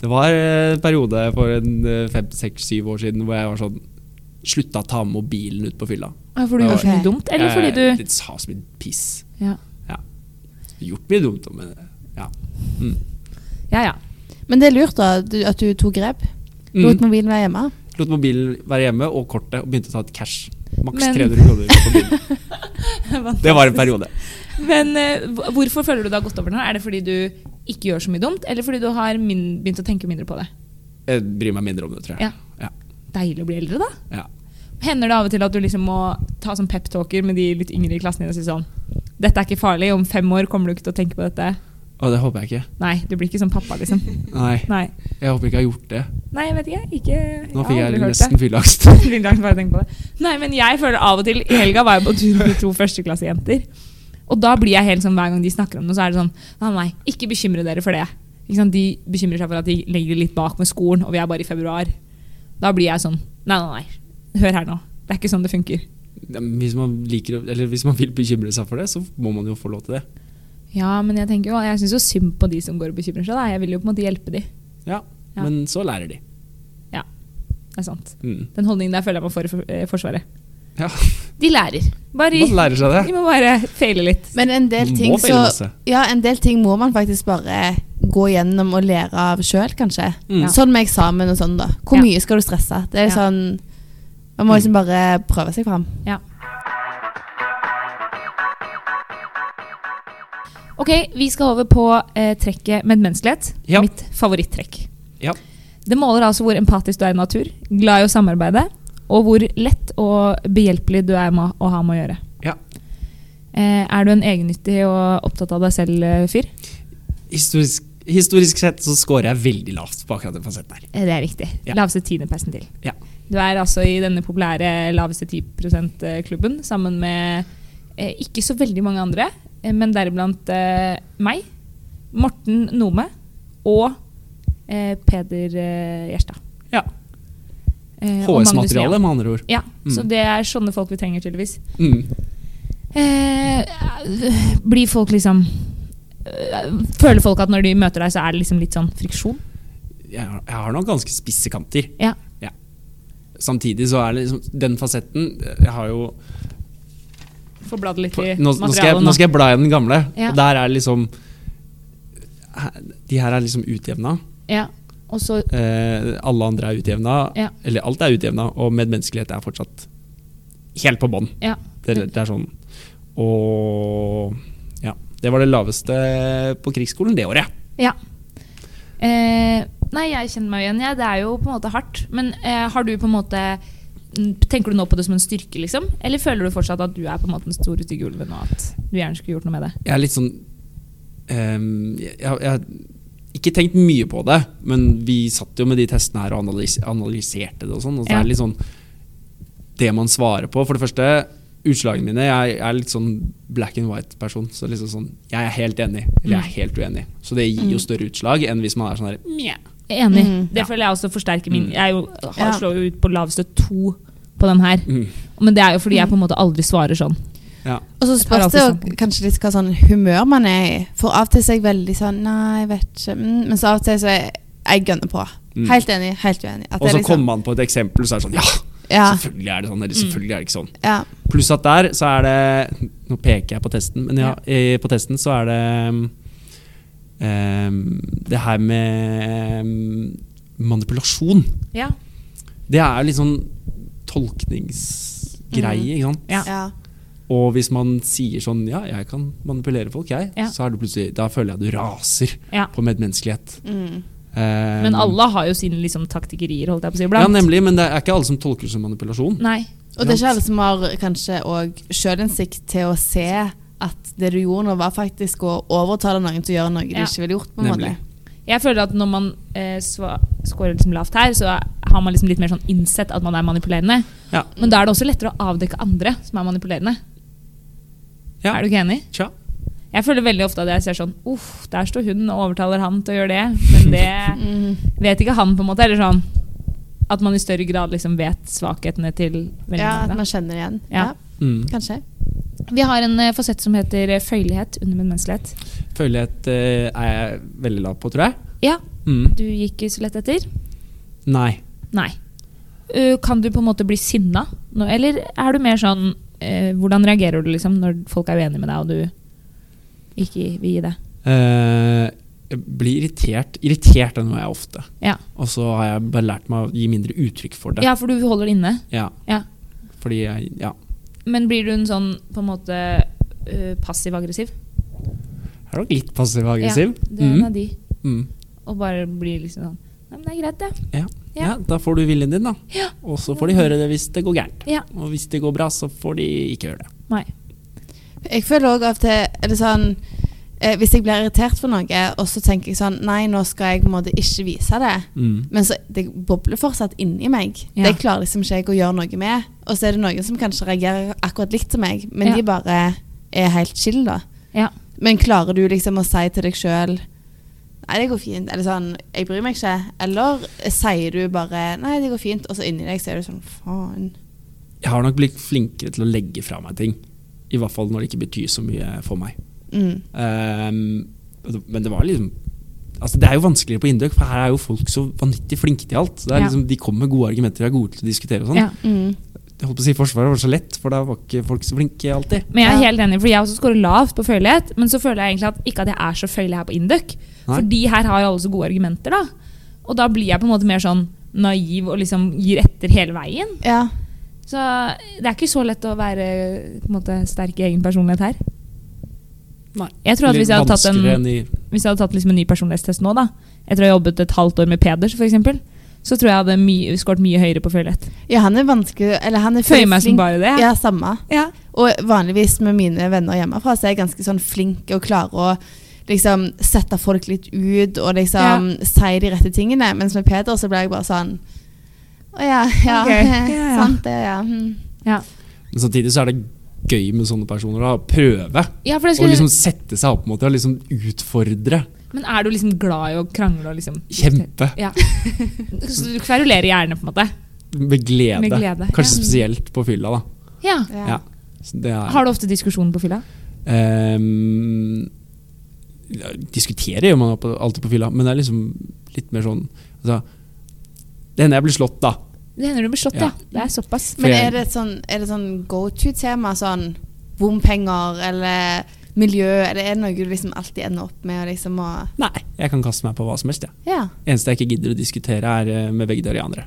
B: det var en periode for en eh, fem, seks, syv år siden hvor jeg var sånn Slutta å ta med mobilen ut på fylla.
A: For du gjør så mye
C: Ok.
A: dumt, eller fordi
B: Jeg-
A: du
B: Det sa så mye piss.
A: Ja,
B: Gjort mye dumt, men eh, ja.
A: ja. ja.
C: Men det er lurt da, du, at du tok grep. Lot
B: Mm.
C: mobilen være hjemme.
B: Lot mobilen være hjemme og kortet, og begynte å ta et cash. Maks
A: Men-
B: 300 kroner på bilen. Det var en periode.
A: Men eh, hv- hvorfor føler du det har gått over nå? Er det fordi du ikke gjør så mye dumt, eller fordi du har min begynt å tenke mindre på det?
B: Jeg bryr meg mindre om det, tror jeg.
A: Ja. Deilig å bli eldre, da.
B: Ja.
A: Hender det av og til at du liksom må ta sånn peptalker med de litt yngre i klassen din og si sånn Dette er ikke farlig, om fem år kommer du ikke til å tenke på dette.
B: Og det håper jeg ikke.
A: Nei, du blir ikke sånn pappa, liksom.
B: Nei,
A: Nei,
B: jeg håper ikke jeg har gjort det.
A: Nei jeg vet ikke. ikke
B: Nå fikk
A: har
B: jeg
A: aldri hørt
B: nesten
A: det.
B: fylleangst.
A: Vil langt bare tenke på det. Nei, men jeg føler av og til I helga var jeg på tur med to førsteklassejenter. Og da blir jeg helt sånn, hver gang de snakker om det, så er det sånn Nei, nei, ikke bekymre dere for det. Ikke sant? De bekymrer seg for at de legger det litt bak med skolen, og vi er bare i februar. Da blir jeg sånn Nei, nei, nei. Hør her nå. Det er ikke sånn det funker.
B: Ja, men Hvis man, liker, å- eller hvis man vil bekymre seg for det, så må man jo få lov til det.
A: Ja, men jeg tenker jo, jeg syns jo synd på de som går og bekymrer seg. Da. Jeg vil jo på en måte hjelpe de.
B: Ja,
A: Ja.
B: Men så lærer de.
A: Det er sant.
B: Mm.
A: Den holdningen der føler jeg meg for i for- eh, Forsvaret.
B: Ja.
A: De lærer. Bare,
B: Man lærer seg det.
A: de må bare feile litt.
C: Men en del,
B: Man
C: ting
B: må feile
C: så,
B: masse.
C: ja, en del ting må man faktisk bare gå gjennom og lære av sjøl, kanskje.
B: Mm.
C: Sånn med eksamen og sånn, da. Hvor
A: Ja.
C: mye skal du stresse? Det er
A: Ja.
C: sånn Man må liksom bare prøve seg fram.
A: Ok, vi skal over på eh, trekket medmenneskelighet.
B: Ja.
A: Mitt favorittrekk.
B: Ja.
A: Det måler altså hvor empatisk du er i natur, glad i å samarbeide, og hvor lett og behjelpelig du er med å ha med å gjøre.
B: Ja.
A: Eh, er du en egennyttig og opptatt av deg eh, selv-fyr?
B: Historisk, historisk sett så scorer jeg veldig lavt på akkurat den fasetten her.
A: Eh, Det er riktig.
B: Ja.
A: Laveste tiendeplassen til.
B: Ja.
A: Du er altså i denne populære laveste 10 %-klubben sammen med eh, ikke så veldig mange andre, eh, men deriblant eh, meg, Morten Nome og eh, Peder eh, Gjerstad.
B: Ja.
A: Eh, og Magnus
B: HS-materiale, med andre ord.
A: Nea. Ja, så
B: Mm.
A: det er sånne folk vi trenger, tydeligvis.
B: Mm.
A: Eh, blir folk liksom eh, Føler folk at når de møter deg, så er det liksom litt sånn friksjon?
B: Jeg, har, jeg har nok ganske spisse kanter.
A: Ja.
B: Samtidig så er det liksom den fasetten Jeg har jo
A: Får bladet litt
B: på,
A: i
B: nå, nå, skal jeg,
A: materialet
B: nå skal jeg bla i den gamle,
A: Ja.
B: og der er liksom De her er liksom utjevna.
A: Ja. Og så
B: Eh, alle andre er utjevna.
A: Ja.
B: Eller alt er utjevna, og medmenneskelighet er fortsatt helt på bånn.
A: Ja.
B: Det, det er sånn. Og ja. Det var det laveste på krigsskolen det året.
A: Ja. Eh, nei, jeg kjenner meg igjen. Ja, det er jo på en måte hardt. Men eh, har du på en måte mm, Tenker du nå på det som en styrke, liksom? Eller føler du fortsatt at du er på en måte den store stygge ulven, og at du gjerne skulle gjort noe med det?
B: Jeg er litt sånn ehm, jeg, jeg har ikke tenkt mye på det, men vi satt jo med de testene her og analys, analyserte det og sånn. Og så
A: Ja.
B: er det litt sånn Det man svarer på For det første, utslagene mine Jeg, jeg er litt sånn black and white-person. Så liksom sånn Jeg er helt enig, eller
C: Mm.
B: jeg er helt uenig. Så det gir jo større utslag enn hvis man er sånn her
A: Mjau. Enig.
C: Mm.
A: Det føler jeg også forsterker min
B: Mm.
A: Jeg er jo, har
C: Ja.
A: slår jo ut på laveste to på den her.
B: mm,
A: Men det er jo fordi jeg på en måte aldri svarer sånn.
B: Ja.
C: Og så
A: Jeg tar
C: spørs
A: alltid
C: det jo
A: standpunkt.
C: kanskje litt hva sånn humør man er i. For av og til så er jeg veldig sånn Nei, jeg vet ikke. Mm, Men så av og til så er jeg, jeg gønner på.
B: Mm.
C: Helt enig, helt uenig.
B: Og
C: At det
B: så
C: er liksom-
B: kommer man på et eksempel, så er det sånn Ja,
C: ja,
B: selvfølgelig er det sånn. Eller selvfølgelig er det ikke sånn.
C: ja.
B: Pluss at der så er det Nå peker jeg på testen, men ja, eh, på testen så er det ehm, Det her med ehm, manipulasjon.
A: Ja.
B: Det er jo litt sånn tolkningsgreie, ikke sant.
A: Mm. Ja.
C: ja.
B: Og hvis man sier sånn Ja, jeg kan manipulere folk, jeg.
A: Ja.
B: Så er det plutselig Da føler jeg du raser
A: Ja.
B: på medmenneskelighet.
C: Mm.
B: Ehm,
A: Men alle har jo sine liksom, taktikkerier, holdt jeg på å si.
B: Ja,
A: Iblant.
B: nemlig. Men det er ikke alle som tolker det som manipulasjon.
A: Nei.
C: Og det er ikke alle som har kanskje òg sjølinnsikt til å se at det du gjorde nå, var faktisk å overtale noen til å gjøre noe de
A: Ja.
C: ikke ville gjort. på en måte.
B: Nemlig.
A: Jeg føler at når man eh, sva- scorer liksom lavt her, så har man liksom litt mer sånn innsett at man er manipulerende.
B: Ja.
A: Men da er det også lettere å avdekke andre som er manipulerende.
B: Ja.
A: Er du ikke enig?
B: Tja.
A: Jeg føler veldig ofte at jeg ser sånn Uff, der står hun og overtaler han til å gjøre det. Men det
C: Mm.
A: vet ikke han, på en måte. Eller sånn at man i større grad liksom vet svakhetene til veldig
C: Ja, at
A: mange.
C: man kjenner det igjen. Ja.
A: Ja.
B: Mm.
C: Kanskje.
A: Da. Vi har en eh, fasett som heter eh, føyelighet under medmenneskelighet.
B: Følelighet eh, er jeg veldig lav på, tror jeg.
A: Ja,
B: Mm.
A: du gikk så lett etter.
B: Nei.
A: Nei. Uh, kan du på en måte bli sinna? nå, Eller er du mer sånn eh, Hvordan reagerer du liksom når folk er uenige med deg, og du ikke vil gi det?
B: Eh, jeg blir irritert. Irritert er noe jeg er ofte.
A: Ja.
B: Og så har jeg bare lært meg å gi mindre uttrykk for det.
A: ja, for du holder det inne.
B: Ja.
A: Ja.
B: Fordi jeg Ja.
A: Men blir du en sånn på en måte eh, passiv-aggressiv?
B: Jeg er nok litt passiv-aggressiv.
A: Ja, du er en av
B: mm.
A: de.
B: mm.
A: Og bare blir liksom sånn Nei, men det er greit, det.
B: ja.
A: Ja.
B: ja, da får du viljen din, da.
A: Ja.
B: Og så får de høre det hvis det går gærent.
A: Ja.
B: Og hvis det går bra, så får de ikke høre det.
A: Nei.
C: Jeg føler òg av og til er det sånn eh, Hvis jeg blir irritert for noe, og så tenker jeg sånn Nei, nå skal jeg på en måte ikke vise det.
B: Mm.
C: Men så, det bobler fortsatt inni meg.
A: Ja.
C: Det klarer liksom ikke jeg å gjøre noe med. Og så er det noen som kanskje reagerer akkurat likt som meg, men
A: Ja.
C: de bare er helt chill, da.
A: Ja.
C: Men klarer du liksom å si til deg sjøl Nei, det går fint. Eller sånn Jeg bryr meg ikke. Eller sier du bare Nei, det går fint. Og så inni deg så er du sånn Faen.
B: Jeg har nok blitt flinkere til å legge fra meg ting. I hvert fall når det ikke betyr så mye for meg.
C: Mm.
B: Ehm, men det var liksom Altså Det er jo vanskeligere på Indøk, for her er jo folk så vanvittig flinke til alt. Det er
A: Ja.
B: liksom, de kommer med gode argumenter og er gode til å diskutere. og sånn.
A: Ja.
C: Mm.
B: Jeg holdt på å si Forsvaret var så lett, for da var ikke folk så flinke alltid.
A: Men jeg er
C: Ja.
A: helt enig, fordi jeg også scorer lavt på følelighet. Men så føler jeg egentlig at ikke at jeg er så følelig her på Induc.
B: Nei.
A: Fordi her har alle så gode argumenter, da. Og da blir jeg på en måte mer sånn naiv og liksom gir etter hele veien.
C: Ja.
A: Så det er ikke så lett å være på en måte, sterk i egen personlighet her. Jeg tror at hvis jeg hadde tatt en
B: Vanskeligere enn i
A: hvis jeg hadde tatt liksom en ny personlighetstest nå, da, etter å ha jobbet et halvt år med Peders, for eksempel, så tror jeg jeg hadde my skåret mye høyere på følelighet.
C: ja, han er vanskelig Eller han er
A: Føyer meg som
C: flink.
A: bare det.
C: Ja, samme.
A: Ja.
C: Og vanligvis med mine venner hjemmefra så er jeg ganske sånn flink og klarer å liksom sette folk litt ut og liksom si de rette tingene. Mens med Peder så ble jeg bare sånn Å ja, ja.
A: Ok, ja, ja.
C: Sant det, ja. hm.
B: Men samtidig så er det gøy med sånne personer. da, Å prøve
A: Ja, for det
B: å
A: skulle,
B: liksom sette seg opp mot det og liksom utfordre.
A: Men er du liksom glad i å krangle og liksom
B: Kjempe.
A: Ja. Så du kverulerer gjerne, på en måte.
B: Med glede.
A: Med glede, ja.
B: Kanskje spesielt på fylla, da.
A: Ja.
C: Ja.
B: Ja. Så det er,
A: Har du ofte diskusjon på fylla?
B: Ehm, ja, diskutere gjør man på- alltid på fylla, men det er liksom litt mer sånn altså, Det hender jeg blir slått, da.
A: Det hender du blir slått,
B: Ja.
A: ja. Det er såpass.
C: Men
B: jeg-
C: er det et sånn, er det sånn go to-tema? Sånn bompenger eller miljø? Eller er det noe du liksom alltid ender opp med å liksom å
B: Nei, jeg kan kaste meg på hva som helst. Ja.
C: Ja.
B: Eneste jeg ikke gidder å diskutere, er eh, med vegetarianere.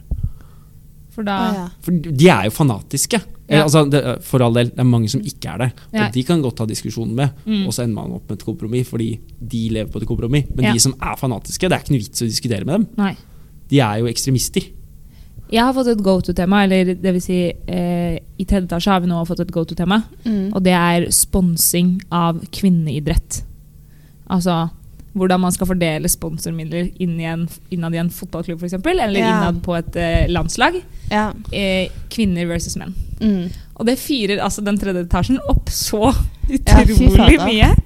A: For da
C: Å, ja.
B: For de er jo fanatiske.
A: Ja.
B: Eh, Altså, det, for all del, det er mange som ikke er det.
A: Ja.
B: Og de kan godt ta diskusjonen med,
A: Mm.
B: og så ender man opp med et kompromiss fordi de lever på et kompromiss. Men
A: Ja.
B: de som er fanatiske, det er ikke noe vits å diskutere med dem.
A: Nei.
B: De er jo ekstremister.
A: Jeg har fått et go to-tema, eller det vil si eh, I tredje etasje har vi nå fått et go to-tema.
C: Mm.
A: Og det er sponsing av kvinneidrett. Altså hvordan man skal fordele sponsormidler inn i en, innad i en fotballklubb f.eks. Eller
C: Ja.
A: innad på et eh, landslag.
C: ja.
A: Eh, kvinner versus menn.
C: Mm.
A: Og det fyrer altså den tredje etasjen opp så
C: Ja, fy
A: utrolig
C: fader.
A: mye.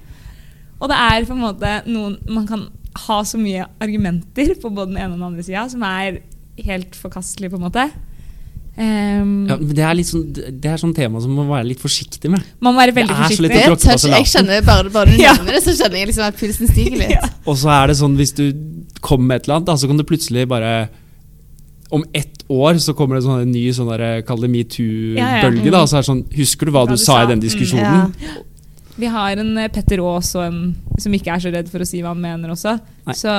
A: Og det er på en måte noen Man kan ha så mye argumenter på både den ene og den andre
C: Mm.
A: sida som er helt forkastelig, på en måte. Ehm,
B: Ja, men det er litt sånn, det er sånn tema som man må være litt forsiktig med.
A: Man må være veldig
B: Det er så
A: forsiktig.
B: litt
C: Det
B: å tråkke på
C: touch, jeg
B: salaten.
C: kjenner bare, bare du
A: Ja.
C: nevner det, så kjenner jeg liksom at pulsen stiger litt.
A: Ja.
B: Og så er det sånn hvis du kommer med et eller annet, da, så kan du plutselig bare Om ett år så kommer det sånn en ny sånn der, kall det
A: Ja,
B: metoo-bølge.
A: ja.
B: da, og så er det sånn, Husker du hva du, sa i den
A: Mm,
B: diskusjonen?
C: Ja.
A: Vi har en eh, Petter Aas og en, som ikke er så redd for å si hva han mener også.
B: Nei.
A: Så,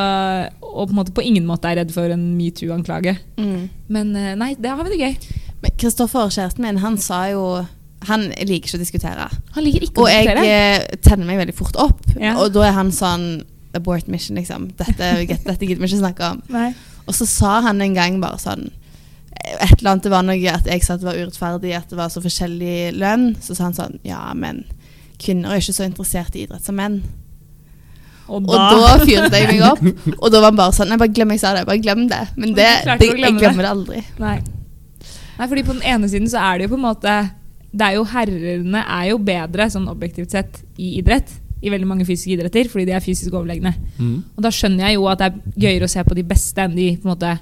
A: og på en måte på ingen måte er redd for en metoo-anklage.
C: Mm.
A: Men eh, nei, det har vi det gøy.
C: Men Kristoffer, kjæresten min, han sa jo Han liker ikke å diskutere.
A: Han liker ikke
C: Og
A: å
C: jeg
A: diskutere.
C: eh, tenner meg veldig fort opp.
A: Ja.
C: Og da er han sånn Abort mission, liksom. Dette, dette gidder vi ikke snakke om.
A: Nei.
C: Og så sa han en gang bare sånn Et eller annet det var noe at jeg sa at det var urettferdig, at det var så forskjellig lønn. Så sa han sånn Ja, men kvinner er ikke så interessert i idrett som menn.
A: Og
C: Og
A: da,
C: da fyrte jeg meg opp. Og da var han bare sånn Nei, bare glem jeg sa det. Bare glem det. Men det,
A: Du klarte
C: det
A: å glemme
C: jeg glemmer det aldri.
A: nei. nei, fordi på den ene siden så er det jo på en måte det er jo Herrene er jo bedre sånn objektivt sett i idrett. I veldig mange fysiske idretter, fordi de er fysisk overlegne.
B: Mm.
A: Og da skjønner jeg jo at det er gøyere å se på de beste enn de på en måte,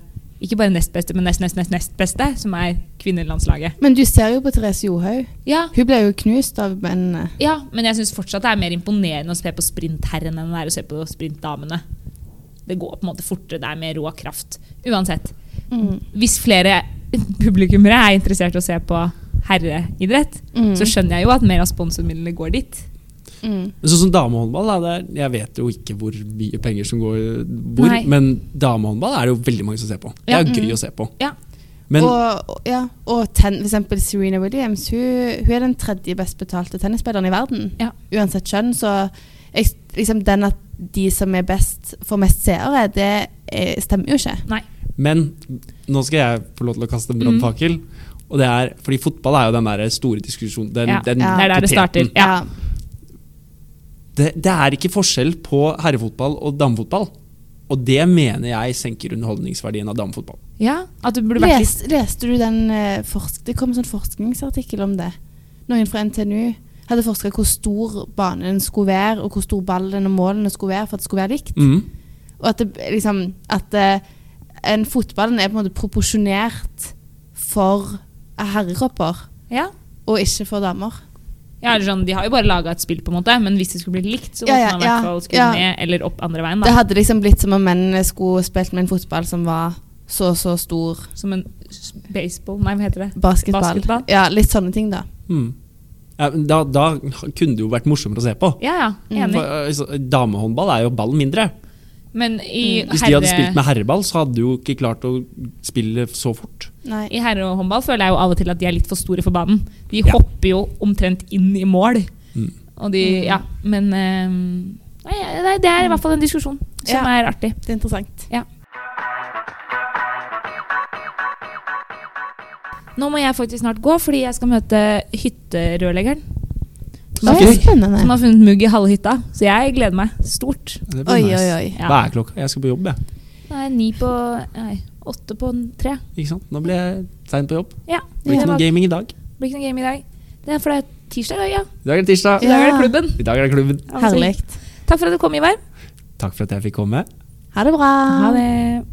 A: ikke bare nest beste, men nest, nest, nest, nest beste, som er kvinnelandslaget.
C: Men du ser jo på Therese Johaug.
A: Ja,
C: Hun ble jo knust av eh, mennene.
A: Ja, men jeg syns fortsatt det er mer imponerende å se på sprintherrene enn det er å se på sprintdamene. Det går på en måte fortere, det er mer rå kraft. Uansett.
C: Mm.
A: Hvis flere publikummere er interessert i å se på herreidrett,
C: Mm.
A: så skjønner jeg jo at mer av sponsormidlene går dit.
C: Mm.
B: Men Sånn som damehåndball, da, det er, jeg vet jo ikke hvor mye penger som går hvor,
A: Nei.
B: men damehåndball er det jo veldig mange som ser på. Det
A: Ja.
B: er gøy
C: Mm.
B: å se på.
A: Ja.
B: Men
C: og og- ja, og ten, for eksempel Serena Williams, hun, hun er den tredje best betalte tennisspilleren i verden.
A: Ja.
C: Uansett kjønn, så jeg, liksom den at de som er best får mest seere, det eh, stemmer jo ikke.
B: Men nå skal jeg få lov til å kaste en
A: Mm.
B: brannfakkel. Og det er, fordi fotball er jo den der store diskusjonen. Den,
A: Ja,
B: den
C: det er
A: der det
B: poteten.
A: starter. Ja.
B: Det, det er ikke forskjell på herrefotball og damefotball. Og det mener jeg senker underholdningsverdien av damefotball.
A: Ja, at du burde vært litt
C: Les, leste du den eh, forsk, Det kom en sånn forskningsartikkel om det. Noen fra NTNU. hadde forska hvor stor banen skulle være, og hvor stor ballen og målene skulle være for at det skulle være likt.
B: Mm.
C: Og at, det, liksom, at eh, en fotballen er på en måte proporsjonert for herrekropper,
A: Ja.
C: og ikke for damer.
A: Ja, eller sånn, De har jo bare laga et spill, på en måte, men hvis det skulle blitt likt, så måtte
C: Ja, ja,
A: man i hvert
C: ja,
A: fall skru
C: ja.
A: ned eller opp andre veien.
C: Det
A: da.
C: hadde liksom blitt som om mennene skulle spilt med en fotball som var så så stor
A: Som en s- baseball Nei, hva heter det?
C: basketball.
A: Basketball.
C: Ja, litt sånne ting, da.
B: Mm. Ja, men da, da kunne det jo vært morsommere å se på.
A: Ja, ja,
C: Mm.
B: For,
A: enig.
B: eh, så- damehåndball er jo ballen mindre.
A: Men i
B: Hvis de hadde spilt
A: herre,
B: med herreball, så hadde de jo ikke klart å spille så fort.
C: Nei.
A: i herrehåndball føler jeg jo av og til at de er litt for store for banen. De
B: Ja.
A: hopper jo omtrent inn i mål.
B: Mm.
A: Og de, ja, men ehm, nei, nei, Det er i hvert fall en diskusjon som
C: Ja.
A: er artig.
C: Det er interessant.
A: Nå må jeg faktisk snart gå, fordi jeg skal møte hytterørleggeren. Som, har
C: Det er
A: funnet- som
C: spennende.
A: har funnet mugg i halve hytta. Så jeg gleder meg stort.
B: Det blir
C: Oi,
B: nice.
C: oi, oi.
A: Ja.
B: Hva er klokka? Jeg skal på jobb, jeg.
A: Det er ni på Nei, åtte på tre.
B: Ikke sant? Nå ble jeg sein på jobb.
A: Ja.
B: Blir
A: Det
B: ikke noe
A: var-
B: gaming i dag.
A: blir ikke noe game i dag. Det er for det er tirsdag, ja.
B: I dag er det tirsdag.
A: I dag er det
C: Ja.
A: klubben.
B: I dag er det klubben.
A: Ja, men så-
C: Herlig.
A: Takk for at du kom, Ivar.
B: Takk for at jeg fikk komme.
C: Ha det bra.
A: Ha det.